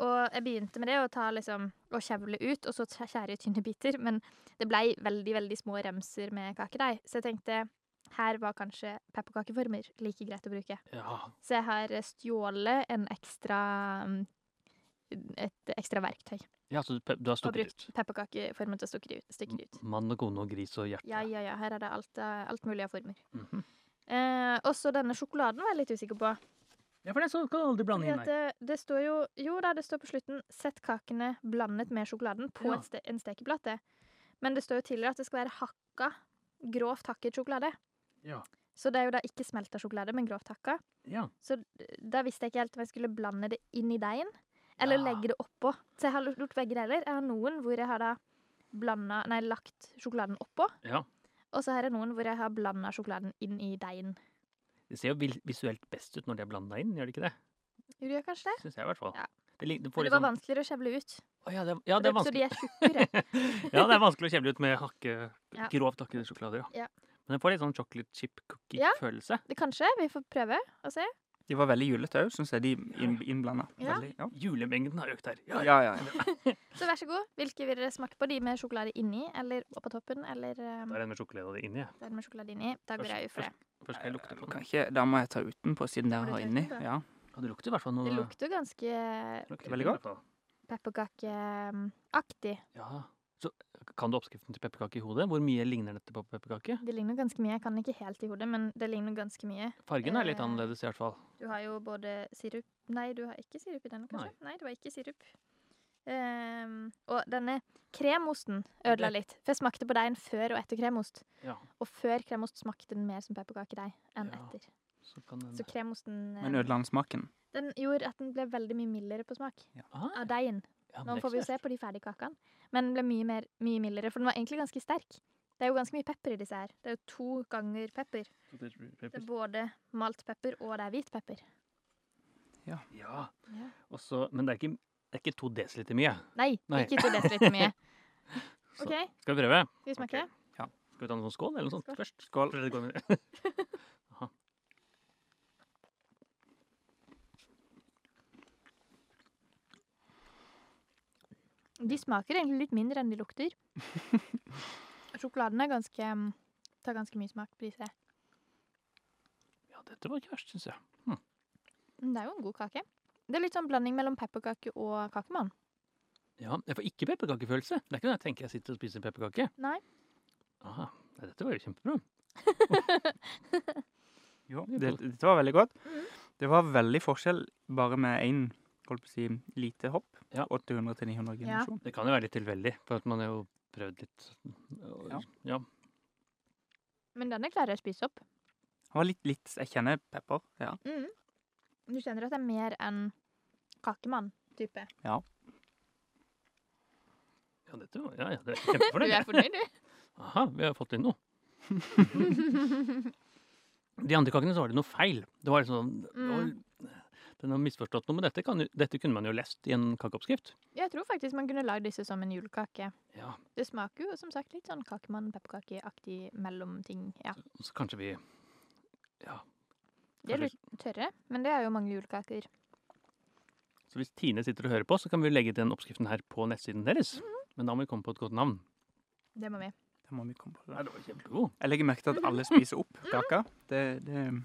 Og jeg begynte med det, å ta liksom, å skjevle ut, og så skjæ- skjære i tynne biter. Men det blei veldig, veldig små remser med kakedeig. Så jeg tenkte her var kanskje pepperkakeformer like greit å bruke.
Ja.
Så jeg har stjålet en ekstra mm, et ekstra verktøy.
ja så du, pe- du har
Og
stukket
brukt
ut.
pepperkakeformen til å stukke de ut- stykke de ut.
Mann og kone og gris og hjerte.
Ja, ja, ja. Her er det alt, eh, alt mulig av former.
Mhm.
Eh, også denne sjokoladen var jeg litt usikker på.
Ja, for det så kan du aldri blande
Fordi
inn
at
her.
det, det står jo Jo da, det står på slutten 'sett kakene blandet med sjokoladen' på
Ja.
et ste en stekeplate. Men det står jo tidligere at det skal være hakka, grovt hakket sjokolade.
Ja.
Så det er jo da ikke smelta sjokolade, men grovt hakka.
Ja.
Så d- da visste jeg ikke helt om jeg skulle blande det inn i deigen, eller
Ja.
legge det oppå. Så jeg har gjort begge deler. Jeg har noen hvor jeg har da blanda Nei, lagt sjokoladen oppå.
Ja.
Og så har jeg noen hvor jeg har blanda sjokoladen inn i deigen.
Det ser jo vil- visuelt best ut når de er blanda inn, gjør det ikke det?
Gjorde jeg kanskje det?
Syns jeg i hvert fall.
Ja.
Det, li- det
Men
får
det
litt
var
sånn
vanskeligere å skjevle ut.
Å ja, det, ja, det er
Så de
vanskelig.
er tjukkere.
ja, det er vanskelig å kjevle ut med hakke,
Ja.
grovt hakkede sjokolader.
Ja.
Men den får litt sånn chocolate chip
Ja.
cookie-følelse.
Det Kanskje. Vi får prøve å se.
De var veldig julete òg, syns jeg, de inn- innblanda.
Ja.
Veldig, ja.
Julemengden har økt her. Ja, ja.
Ja, ja, ja.
Så vær så god. Hvilke vil dere smake på? De med sjokolade inni, eller på toppen, eller um,
Da er den med sjokolade inni. jeg.
den med sjokolade inni? Da går jeg jo for det.
Først skal jeg lukte på den.
Kan ikke, da må jeg ta utenpå, siden
Har
dere
du
har
tatt
inni.
utenpå?
Ja.
Ja, det lukter i hvert fall noe
Det lukter jo ganske
lukter
veldig
i hvert fall.
pepperkakeaktig.
Ja. Så kan du oppskriften til pepperkake i hodet? Hvor mye ligner dette på pepperkake?
Det ligner ganske mye. Jeg kan ikke helt i hodet, men det ligner ganske mye.
Fargen er litt
Eh.
annerledes i hvert fall.
Du har jo både sirup Nei, du har ikke sirup i denne, kanskje? Nei, det var ikke sirup. Ehm, og denne kremosten ødela
Det-
litt. For jeg smakte på deigen før og etter kremost.
Ja.
Og før kremost smakte den mer som pepperkakedeig enn
Ja.
etter.
Så kan den
Så kremosten eh,
Men ødela han smaken?
Den gjorde at den ble veldig mye mildere på smak.
ah,
Av deigen.
ja, men
Nå
det er
får vi
ikke
jo
så
se på de ferdige kakene. Men den ble mye, mer, mye mildere, for den var egentlig ganske sterk. Det er jo ganske mye pepper i disse her. Det er jo to ganger pepper.
verst.
Det er både malt pepper og det er hvit pepper.
Ja.
Ja.
Og så- men det er ikke, det er ikke to desiliter mye.
Nei,
Nei.
ikke to desiliter mye.
Så-
OK, skal
Skal vi prøve?
vi smake?
Ok. Skal vi ta en sånn skål eller noe sånt
Skål.
først?
Skål.
Før det går med- Aha.
De smaker egentlig litt mindre enn de lukter. Sjokoladen er ganske mm, Tar ganske mye smak på disse.
Ja, dette var ikke verst, syns jeg.
Men Mm, det er jo en god kake. Det er litt sånn blanding mellom pepperkake og kakemann.
Ja, Jeg får ikke pepperkakefølelse. Det er ikke når jeg tenker jeg sitter og spiser en pepperkake.
Nei.
Aha. Nei, dette var jo kjempebra.
Jo, det, dette var veldig godt. Det var veldig forskjell bare med én holdt på å si, lite hopp.
Ja.
800 til 900
Ja.
generasjon.
Det kan jo være litt tilfeldig, for at man har jo prøvd litt. Og-
Ja.
ja.
Men denne klarer jeg å spise opp.
Han var litt, litt Jeg kjenner pepper. Ja.
Mm. Du kjenner at det er mer enn kakemann-type.
Ja, dette var, ja, ja, det er
Du
kjempefornøyd.
er fornøyd, du?
Aha, vi har fått inn noe. De andre kakene så var det noe feil. Det var liksom,
Mm.
«Oi, Den har misforstått noe, men dette, kan, jo- dette kunne man jo lest i en kakeoppskrift.
Jeg tror faktisk man kunne lagd disse som en julekake.
Ja,
Det smaker jo som sagt litt sånn kakemann-pepperkakeaktig mellomting. Ja.
så kanskje vi
De er litt tørre, men det er jo mange julekaker.
Så hvis Tine sitter og hører på, så kan vi jo legge den oppskriften her på nettsiden deres. Men da må vi komme på et godt navn.
Det må vi.
Det må vi komme på.
det var kjempegod.
Jeg legger merke til at alle spiser opp kaka. Det, det,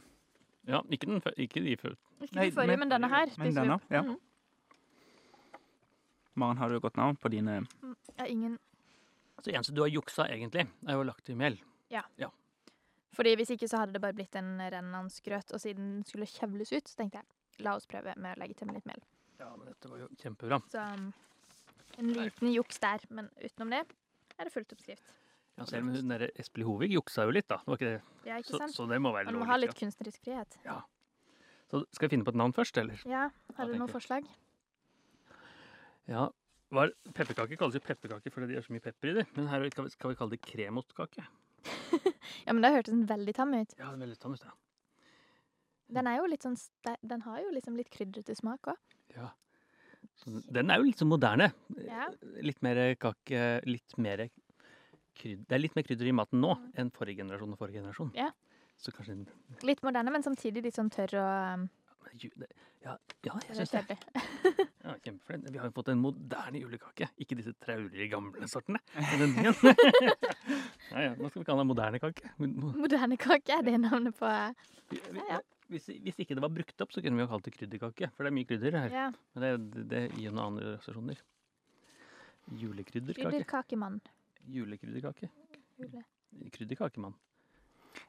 Ja, ikke, den, fø- ikke de før.
Ikke
Nei,
de forrige,
men-
men denne her
men
spiser vi
denne,
opp.
ja.
Mm.
Maren, har du et godt navn på dine
Jeg har ingen
Så det eneste Altså, du har juksa egentlig, er jo lagt i mel.
Fordi Hvis ikke så hadde det bare blitt en rennansgrøt, og siden den skulle kjevles ut, så tenkte jeg la oss prøve med å legge til med litt mel.
Ja, men dette var jo kjempebra.
Så um, en liten juks der, men utenom det er det fullt oppskrift.
Ja, selv om hun der Espelid Hovig juksa jo litt, da. Det var ikke det.
Ja, ikke
Så,
sant?
så det må være
Man må
lov.
ha
litt,
litt kunstnerisk frihet.
ja. Så skal vi finne på et navn først, eller?
Ja,
Ja,
Har du
tenker
noen
jeg.
forslag?
Ja, var, pepperkake kalles jo pepperkake fordi de har så mye pepper i det. Men her kan vi, kan vi kalle det kremostkake.
Ja, men Det hørtes den veldig tam ut.
Ja, det er sånn, veldig tannet, ja.
Den er jo litt sånn, ste- den har jo liksom litt krydrete smak òg.
ja. Så den er jo litt sånn moderne.
Ja.
Litt mer kake, litt mer krydder. Det er litt mer krydder i maten nå enn forrige generasjon og forrige generasjon.
Mm. Ja.
Så kanskje den
Litt moderne, men samtidig litt sånn tørr og um,
men ju- det- Ja, ja jeg syns det.
kjedelig.
Ja, Kjempefornøyd. Vi har jo fått en moderne julekake. Ikke disse traurige, gamle sortene. Men den nye. ja, ja. Nå skal vi kalle den moderne kake. Mo-
Moderne kake er det navnet på eh,
mo-
ja.
Hvis, hvis ikke det var brukt opp, så kunne vi jo kalt det krydderkake. For det er mye krydder her.
ja,
Men det, er jo- det gir jo noen andre assosiasjoner. Julekrydderkake.
krydderkakemann.
Julekrydderkake.
Jule-
Krydderkakemann.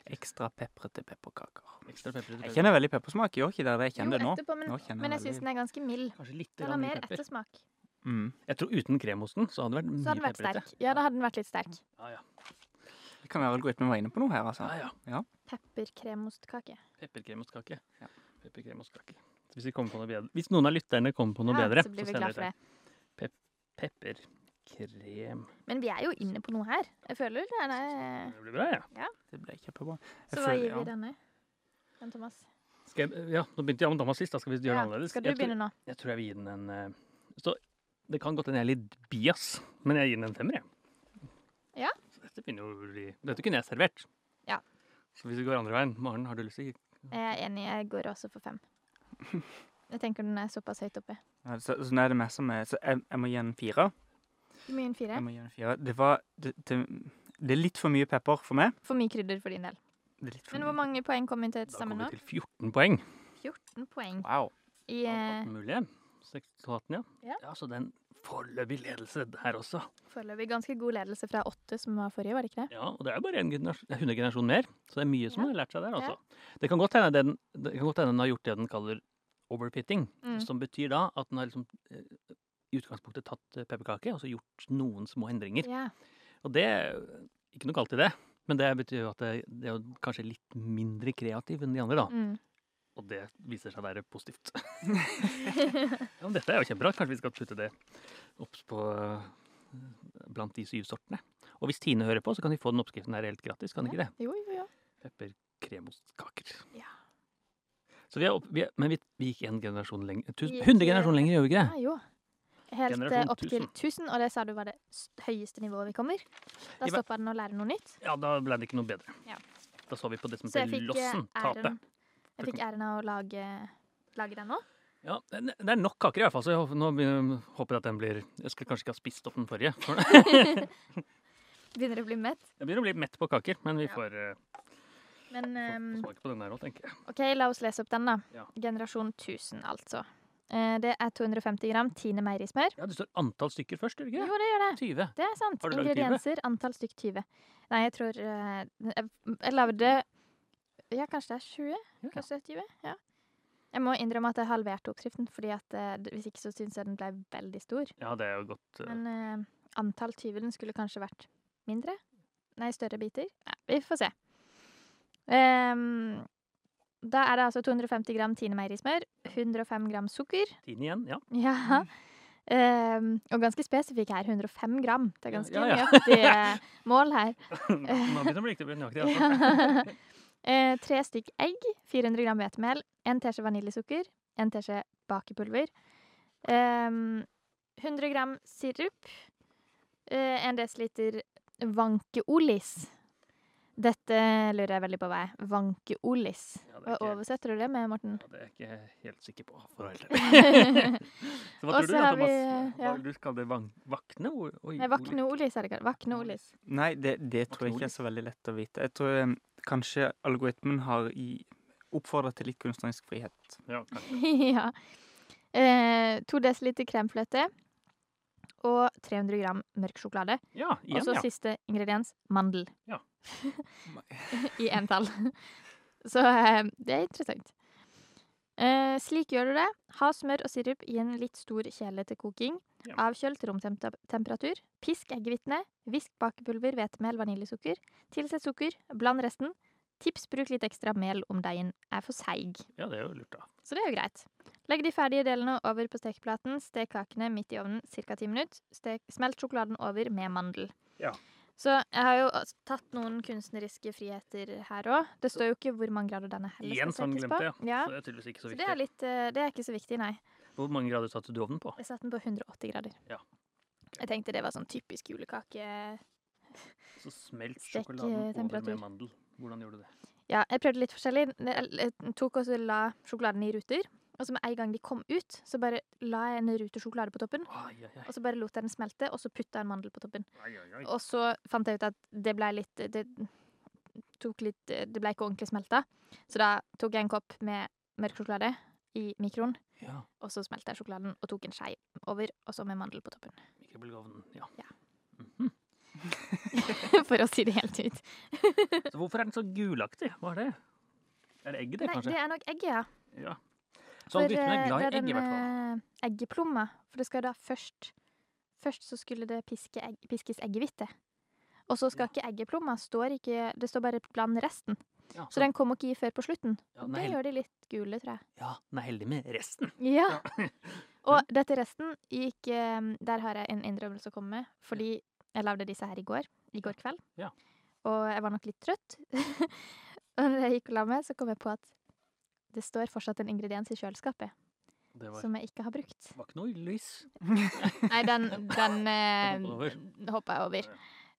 Ekstra peprete pepperkaker.
Ekstra pepper til
Jeg
pepper.
kjenner veldig peppersmak. Jeg gjorde ikke det, det jeg kjenner det
jo,
nå.
etterpå, men,
Nå kjenner jeg
men jeg syns
veldig-
den er ganske mild.
Kanskje litt
Den har
grann mye
mer
pepper.
ettersmak.
Mm.
Jeg tror uten kremosten så hadde det vært
Så
mye
hadde den vært
pepperete.
sterk. Ja, da hadde den vært litt sterk.
Ja, ja.
Det kan være algoritmen var inne på noe her, altså.
ja, ja.
Pepperkremostkake.
Pepperkremostkake.
Ja.
Pepperkremostkake. Hvis, vi kommer på noe bedre. Hvis noen av lytterne kommer på noe
Ja,
bedre,
så blir vi glad for det.
Pepperkrem.
Men vi er jo inne på noe her. Jeg føler det er
Det blir bra, ja.
Det ble kjempebra. Jeg
Så hva
føler-
gir vi
ja.
denne? Jan Thomas.
Skal jeg, ja, nå begynte jeg med Thomas sist, da skal vi gjøre det
Ja,
annerledes.
Skal du
jeg,
begynne nå?
tror, jeg tror jeg vil gi den en eh, Så det kan godt hende jeg er litt bias, men jeg gir den en femmer, jeg.
Ja.
Så Dette begynner jo å bli Dette kunne jeg servert.
Ja.
Så hvis vi går andre veien Maren, har du lyst til å
Jeg er enig, jeg går også for fem. Jeg tenker den er såpass høyt oppe.
Ja, så, så nå er det mest som er, så jeg, jeg må gi en fire.
Hvor mye en fire?
Jeg må gi en fire. Det var det, det, det er litt for mye pepper for meg.
For mye krydder for din del.
Det er litt for
Men
mye.
hvor mange poeng kom inn til
Da
sammen
kommer
nå?
vi til 14 poeng.
14 poeng.
Wow.
I,
Av
eh,
18 mulige. 16-18, ja.
Ja.
Så den foreløpig ledelse her også.
foreløpig ganske god ledelse fra åtte, som var forrige, var det ikke det?
Ja, og det er jo bare en generasjon, det er hundegenerasjon mer, så det er mye som
Ja.
har lært seg der.
Ja.
altså. Det kan godt hende den, det kan godt hende den har gjort det den kaller overfitting,
Mm.
som betyr da at den har liksom eh, i utgangspunktet tatt eh, pepperkake og så gjort noen små endringer.
Ja.
Og det eh, Ikke noe galt i det, men det betyr jo at det, det er jo kanskje litt mindre kreativ enn de andre, da.
Mm.
Og det viser seg å være positivt. ja, men dette er jo kjempebra. Kanskje vi skal putte det opp på eh, blant de syv sortene. Og hvis Tine hører på, så kan de få den oppskriften her helt gratis. kan de ikke det?
Jo, jo, jo.
pepperkremostkaker.
Ja.
Så vi er opp, vi er, men vi, vi gikk en generasjon lenger. Tusen,
Vi gikk-
100 generasjoner lenger, gjør vi ikke
Ja,
det?
jo. Helt eh,
Generasjon
opp til 1000, og det sa du var det s- høyeste nivået vi kommer. Da
Jeg var-
stoppa den å lære noe nytt.
Ja, da ble det ikke noe bedre.
Ja.
Da så vi på det som
Så jeg
heter
fikk eh,
lossen tape.
æren, jeg fikk æren av å lage, lage den nå.
Ja, det det er nok kaker i hvert fall, så jeg håper, nå begynner- håper jeg at den blir Jeg skal kanskje ikke ha spist opp den forrige. for-
Begynner å bli mett.
Jeg begynner å bli mett på kaker, men vi
Ja.
får, eh,
Men
får, får
ehm,
smake på den der òg, tenker jeg.
OK, la oss lese opp den, da.
Ja.
Generasjon 1000, altså. Eh, Det er 250 gram Tine meierismør.
Ja, Det står antall stykker først, gjør det ikke det?
Jo, det gjør det.
20.
Det er sant.
Har du laget
Ingredienser, antall stykk 20. Nei, jeg tror eh, Jeg, jeg lagde Ja, kanskje det er 20?
Ja.
Kanskje det er 20? Ja. Jeg må innrømme at jeg halverte oppskriften, fordi at eh, d- hvis ikke så syns jeg den ble veldig stor.
Ja, det er jo godt. eh,
Men eh, antall 20 den skulle kanskje vært mindre? Nei, større biter? Ja, vi får se. Ehm, da er det altså 250 gram Tine meierismør, 105 gram sukker
Tine igjen, ja.
ja.
Mm.
Ehm, og ganske spesifikk her. 105 gram. Det er
Ja,
ganske
ja, ja.
nøyaktig eh, mål her.
Nå begynner det å bli riktig nøyaktig. Altså.
Ja. Eh, tre stykk egg, 400 gram hvetemel, en teskje vaniljesukker, en teskje bakepulver, ehm, 100 gram sirup, eh, en desiliter vankeolis. Dette lurer jeg veldig på hva er. Vankeolis.
Ja, det er
Hva
ikke-
oversetter du det med, Morten?
Ja, det er jeg ikke helt sikker på. For å være helt ærlig. Så hva
Og
tror du
så
da,
har vi, eh,
Thomas? Hva
ja.
vil Du kaller det vang vakne? O- Oi,
Nei,
Ole.
Vakneolis er det kalt. Vakneolis.
Nei, det, det
Var
tror jeg ikke er
knolis.
så veldig lett å vite. Jeg tror eh, kanskje algoritmen har i, oppfordret til litt kunstnerisk frihet.
Ja, kanskje.
ja. Eh, to desiliter kremfløte og 300 gram mørk sjokolade.
ja
Og
igjen,
så
ja.
siste ingrediens mandel.
Ja.
I entall. Så eh, det er interessant. Eh, slik gjør du det. Ha smør og sirup i en litt stor kjele til koking.
Ja.
Avkjøl til romtemperatur. Pisk eggehvitene. Visk bakepulver, hvetemel, vaniljesukker. Tilsett sukker. Bland resten. Tips bruk litt ekstra mel om deigen er for seig.
ja, det er jo lurt, da.
Så det er jo greit. Legg de ferdige delene over på stekeplaten, stek kakene midt i ovnen ca. 10 minutter. Stek, smelt sjokoladen over med mandel.
Ja.
Så jeg har jo også tatt noen kunstneriske friheter her òg. Det står jo ikke hvor mange grader denne heller
Igjen så
skal
den
stekes på.
glemte, ja.
ja.
Så det er tydeligvis ikke så
Så
viktig.
det er, litt, eh, det er ikke så viktig, nei.
Hvor mange grader satte du ovnen på?
Jeg satte den på 180 grader.
Ja.
Jeg tenkte det var sånn typisk julekake.
Så smelt
Stek, eh,
sjokoladen over
temperatur.
med mandel. Hvordan gjorde du det?
Ja, jeg prøvde litt forskjellig. Jeg jeg tok og så la sjokoladen i ruter. Og så med en gang de kom ut, så bare la jeg en rute sjokolade på toppen.
Ai, ai, ai,
Og så bare lot jeg den smelte, og så putta jeg en mandel på toppen.
ai, ai, ai.
Og så fant jeg ut at det ble litt Det, tok litt, det ble ikke ordentlig smelta. Så da tok jeg en kopp med mørk sjokolade i mikroen,
Ja,
og så smelta jeg sjokoladen og tok en skei over, og så med mandel på toppen.
mikrobølgeovnen. Ja.
Ja.
Mhm.
for å si det helt ut.
Så hvorfor er den så gulaktig? Hva er det? Er det egget, det,
Nei,
kanskje?
det er nok egg, ja.
Ja. Så algoritmen er
eh,
glad
det
i egg, i hvert fall.
den, eh, Eggeplomma. For det skal da først Først så skulle det piske egg, piskes eggehvite. Og så skal ikke eggeplomma står ikke, Det står bare bland resten.
Ja,
Så den kom ikke i før på slutten.
ja, den er
eh, Det
heldig,
gjør de litt gule, tror jeg.
ja, den er heldig med resten.
Ja. Og dette resten gikk eh, Der har jeg en innrømmelse å komme med. Fordi jeg lagde disse her i går. I går kveld.
Ja.
Og jeg var nok litt trøtt. og når jeg gikk og la meg, så kom jeg på at det står fortsatt en ingrediens i kjøleskapet
Det var,
som jeg ikke har brukt.
var ikke noe lys.
Nei, den, den
Den hopper
eh, hoppa jeg over.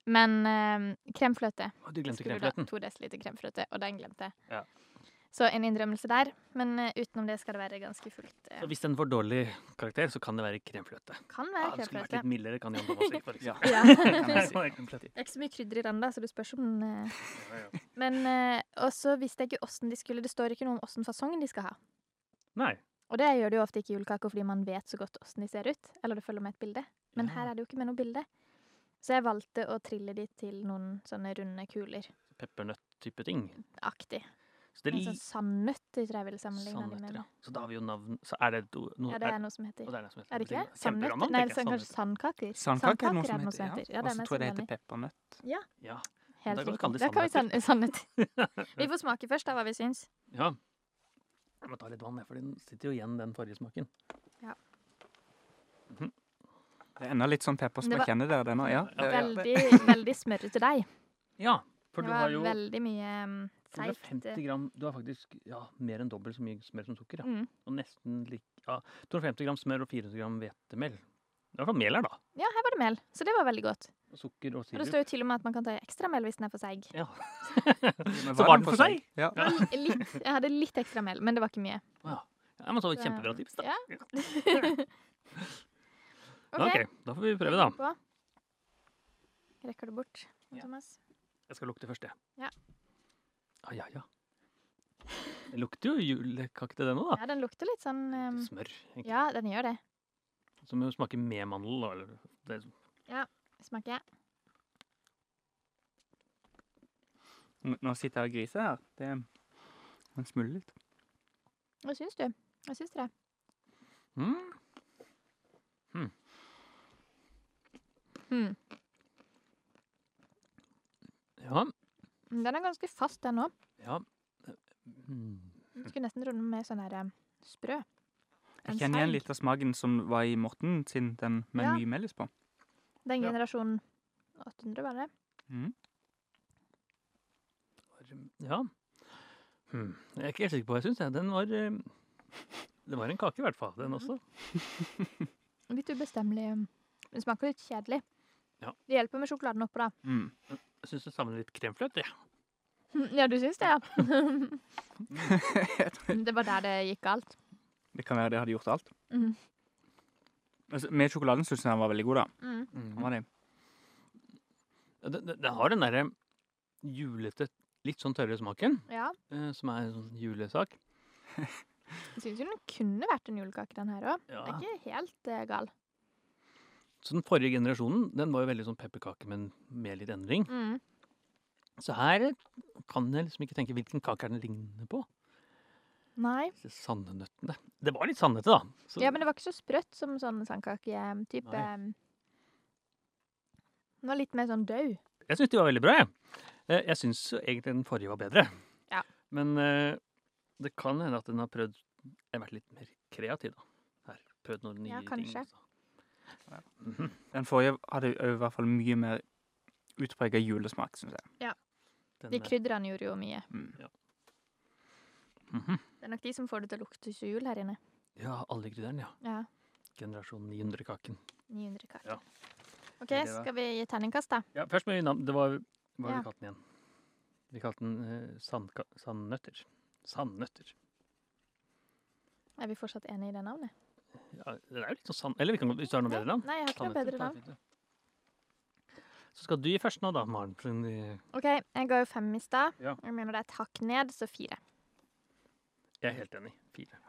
Men eh, kremfløte.
Å, Du glemte
Skulle da
kremfløten.
To desiliter kremfløte, og den glemte jeg.
Ja.
Så en innrømmelse der. Men eh, utenom det skal det være ganske fullt. eh,
Så hvis den får dårlig karakter, så kan det være kremfløte.
kan
Ja,
være
det skulle vært
kremfløte.
litt mildere, kan Jan Thomas si. for
Ja.
eksempel.
Ja.
kan jeg si.
Det er kremfløte.
Det er ikke så mye krydder i den, da, så du spørs om den eh,
Ja, ja.
Men eh, også visste jeg ikke åssen de skulle Det står ikke noe om åssen fasong de skal ha.
Nei.
Og det gjør det jo ofte ikke i julekaker fordi man vet så godt åssen de ser ut. Eller det følger med et bilde. Men
Ja.
her er det jo ikke med noe bilde. Så jeg valgte å trille de til noen sånne runde kuler.
Peppernøtt-type ting.
Aktig.
Så det er
En sånn
litt
sandnøtter tror jeg ville sammenligne de
sannheter,
med.
ja. Så da har vi jo navn Så er det do, no,
Ja, det er noe som heter
og det er noe som heter
Er det ikke det?
Kjempegammelt,
Sandnøtter? Nei,
tenker jeg,
sånn, kanskje sandkaker.
Sandkake er
Sandkaker
noe som heter
heter. Ja,
Og
det er
så
meg
tror jeg det
som
heter peppernøtt.
Ja.
Helt
Da kan vi
riktig.
kalle det
Da kan vi san- sandnøtter. Vi får smake først, da, hva vi syns.
Ja. Jeg må ta litt vann, jeg, for den sitter jo igjen, den forrige smaken.
Det er enda litt sånn pepper som
Det
jeg
var-
kjenner der. Det nå. Ja, det, det,
Veldig, veldig smørrete deig.
Ja, for
Det
du
var
har jo
veldig mye um, seigt.
250 gram Du har faktisk ja, mer enn dobbelt så mye smør som sukker. Ja.
Mm.
Og nesten lik, ja, 250 gram smør og 400 gram hvetemel. Det er i hvert fall mel her, da.
Ja, her var det mel, så det var veldig godt.
Og Sukker og
Og det
sirup.
står jo til og med at man kan ta i ekstra mel hvis den er for seig.
Ja. Så
Men
var den for seg?
Ja.
Ja.
Litt, jeg hadde litt ekstra mel, men det var ikke mye.
ja, men så var det
Så-
kjempebra tips, da.
ja.
Ja.
OK.
ok, da får vi prøve, da.
På. Rekker du bort,
Ja.
Thomas?
Jeg skal lukte først, jeg.
Ja.
Ah, ja, ja. Det lukter jo julekake til den òg, da.
Ja, den lukter litt sånn um,
Smør. egentlig.
Ja, den gjør det.
Som jo smaker med mandel. da, Eller det,
Smaker jeg.
Nå sitter jeg og griser her. Det den smuldrer litt.
Hva syns du? Hva syns dere?
mm,
Hmm.
ja,
Den er ganske fast, den òg.
ja. Mm.
Skulle nesten runde med sånn her um, sprø.
Jeg
En
kjenner igjen
seig.
litt av smaken som var i Morten sin, den med
Ja.
mye melis på.
Den
Ja.
generasjonen 800, var det?
Mm.
Ja. Hm, Jeg er ikke helt sikker på hva jeg syns. jeg. Den var eh, Det var en kake, i hvert fall. Den
Mhm.
også.
Litt ubestemmelig. um, Den smaker litt kjedelig.
Ja.
Det hjelper med sjokoladen oppå, da.
Mm.
Jeg syns det savner litt kremfløte. jeg.
Ja, du syns det, ja? Mm. det var der det gikk galt.
Det kan være det hadde gjort alt.
Mhm.
Altså, med sjokoladen syns jeg den var veldig god, da.
Mm.
Den Var det.
Ja, Den, den- den har den derre julete, litt sånn tørre smaken,
Ja.
eh, som er en sånn julesak.
Jeg syns jo den kunne vært en julekake, den her òg. Den
Ja.
er ikke helt eh, gal.
Så den forrige generasjonen den var jo veldig sånn pepperkake, men med litt endring.
Mm.
Så her kan jeg liksom ikke tenke hvilken kake er den ligner på.
Nei.
Disse sandenøttene. Det var litt sandete, da. Så-
Ja, men det var ikke så sprøtt som sånn sandkaketype.
Nei.
Den var litt mer sånn død.
Jeg syns de var veldig bra. Jeg, Eh, jeg syns jo egentlig den forrige var bedre.
Ja.
Men eh, det kan hende at den har prøvd Jeg har vært litt mer kreativ, da. Her, prøvd noen nye
Ja,
ting.
kanskje.
også. Mhm.
Den forrige hadde jo i hvert fall mye mer utprega julesmak, syns jeg.
Den,
De
eh,
krydderne gjorde jo mye.
Mm.
mhm.
Det er nok de som får det til å lukte så jul her inne.
Ja, alle krydderne, ja.
Ja.
Generasjon 900-kaken.
900 kaker.
Ja.
OK,
Det er det, da.
skal vi gi terningkast, da?
Ja, først må vi navn... Det var Hva har
Ja.
vi kalt den igjen? Vi kalte den eh, sandka, sandnøtter. Sandnøtter.
Er vi fortsatt enige i det navnet?
Ja, det er jo litt sånn sand... Eller vi kan, hvis du har noe bedre navn?
Nei, jeg har ikke noe bedre navn.
Så skal du gi først nå, da, Maren. eh, siden de-
OK, jeg ga jo fem i stad.
Ja.
Jeg mener det er et hakk ned, så fire.
Jeg er helt enig. Fire.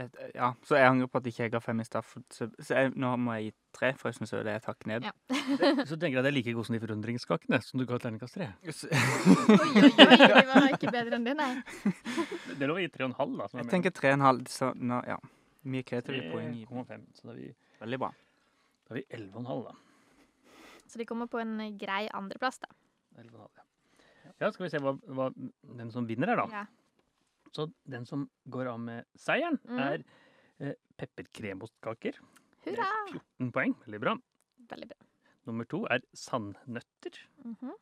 et, ja, så jeg angrer på at ikke jeg ga fem i straff. Så, så jeg, nå må jeg gi tre, for jeg syns det er takk ned.
Ja.
Så tenker jeg at det er like god som de forundringskakene som du ga terningkast tre.
Så-
Oi, oi, oi, de var ikke bedre enn de, nei.
Det er lov å gi tre og en halv, da. Som
Jeg tenker tre og en halv. Så nå, ja. Mye kreative poeng. i-
3,5. Så da er vi,
Veldig bra.
da er vi 11,5, da.
Så de kommer på en grei andreplass, da.
11,5, ja. ja, skal vi se hva, hva den som vinner er, da.
Ja.
Så den som går av med seieren,
Mhm.
er eh, pepperkremostkaker. med
Hurra!
14 poeng. Veldig bra.
Veldig bra.
Nummer to er sandnøtter.
Mhm.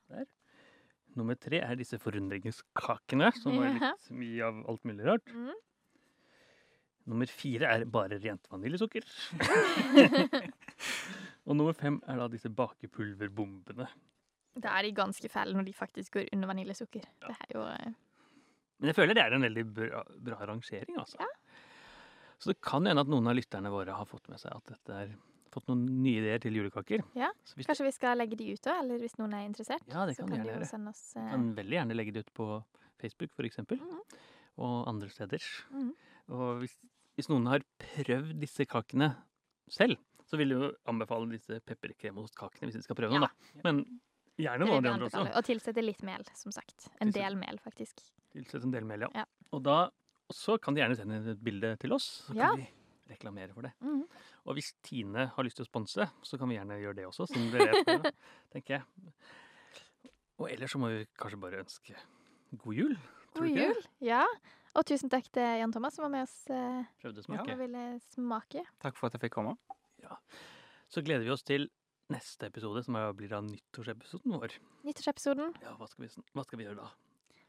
Nummer tre er disse forundringskakene, som var
Ja.
litt mye av alt mulig rart.
Mhm.
Nummer fire er bare rent vaniljesukker. Og nummer fem er da disse bakepulverbombene.
Da er de ganske fæle når de faktisk går under vaniljesukker. Det er jo eh,
Men jeg føler det er en veldig bra, bra rangering, altså. Så det kan hende at noen av lytterne våre har fått med seg at dette er fått noen nye ideer til julekaker.
Ja,
Så hvis
Kanskje vi skal legge de ut, da? Eller hvis noen er interessert,
Ja, det
så
kan
kan
vi
de
gjerne
jo
gjøre.
sende oss
Du
eh,
kan veldig gjerne legge det ut på Facebook, for eksempel.
Mhm.
Og andre steder.
Mhm.
Og hvis, hvis noen har prøvd disse kakene selv, så vil jeg jo anbefale disse pepperkremostkakene hvis de skal prøve
Ja.
noen, da. Men gjerne noen av
vil
de andre også.
anbefale. Og tilsette litt mel, som sagt. En
Tilsett-
del mel, faktisk.
Tilsett en del mel, ja.
Ja.
Og da og så kan de gjerne sende inn et bilde til oss, så
Ja.
kan vi reklamere for det.
Mhm.
Og hvis Tine har lyst til å sponse, så kan vi gjerne gjøre det også, siden det er rett med det, tenker jeg. Og ellers så må vi kanskje bare ønske god jul.
God
Tror du ikke det?
jul! Ja. Og tusen takk til Jan Thomas som var med oss eh,
Prøvde å
Ja.
smake.
og ville smake.
Takk for at jeg fikk komme.
Så gleder vi oss til neste episode, som er- blir da nyttårsepisoden vår.
Nyttårsepisoden.
Ja, hva skal vi, sn- hva skal vi gjøre da?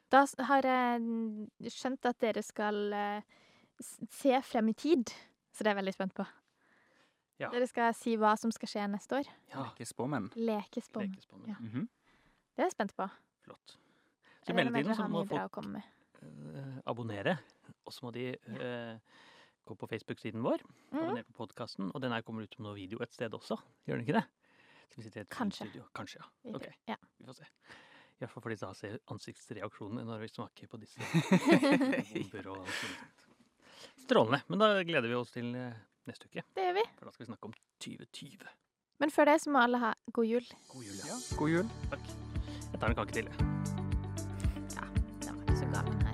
Da s- har jeg skjønt at dere skal eh, s- se frem i tid, så det er jeg veldig spent på.
Ja.
Dere skal si hva som skal skje neste år.
Ja,
Ikke spåmenn.
Lekespom.
lekespommen.
Ja.
Mhm.
Det er jeg spent på.
Flott. Så
Jeg
i
regner med
mellomtiden
dere
så
har
må
mye bra å
folk
komme med.
eh, abonnere, og så må de eh, gå på Facebook-siden vår,
Mhm.
abonnere på podkasten, og den her kommer ut som noe video et sted også, gjør den ikke det? Så vi sitter i et fint
Kanskje.
studio. Kanskje, ja.
Vi-
ok.
Ja.
Vi får se. I hvert fall fordi da ser ansiktsreaksjonene når vi smaker på disse bomber og alt sånt. Strålende. Men da gleder vi oss til eh, neste uke,
Det gjør vi.
for da skal vi snakke om 2020.
Men før det så må alle ha god jul.
God jul, ja.
Ja. God jul.
Takk. Jeg tar en kake til. jeg.
Den var ikke så gal, den her.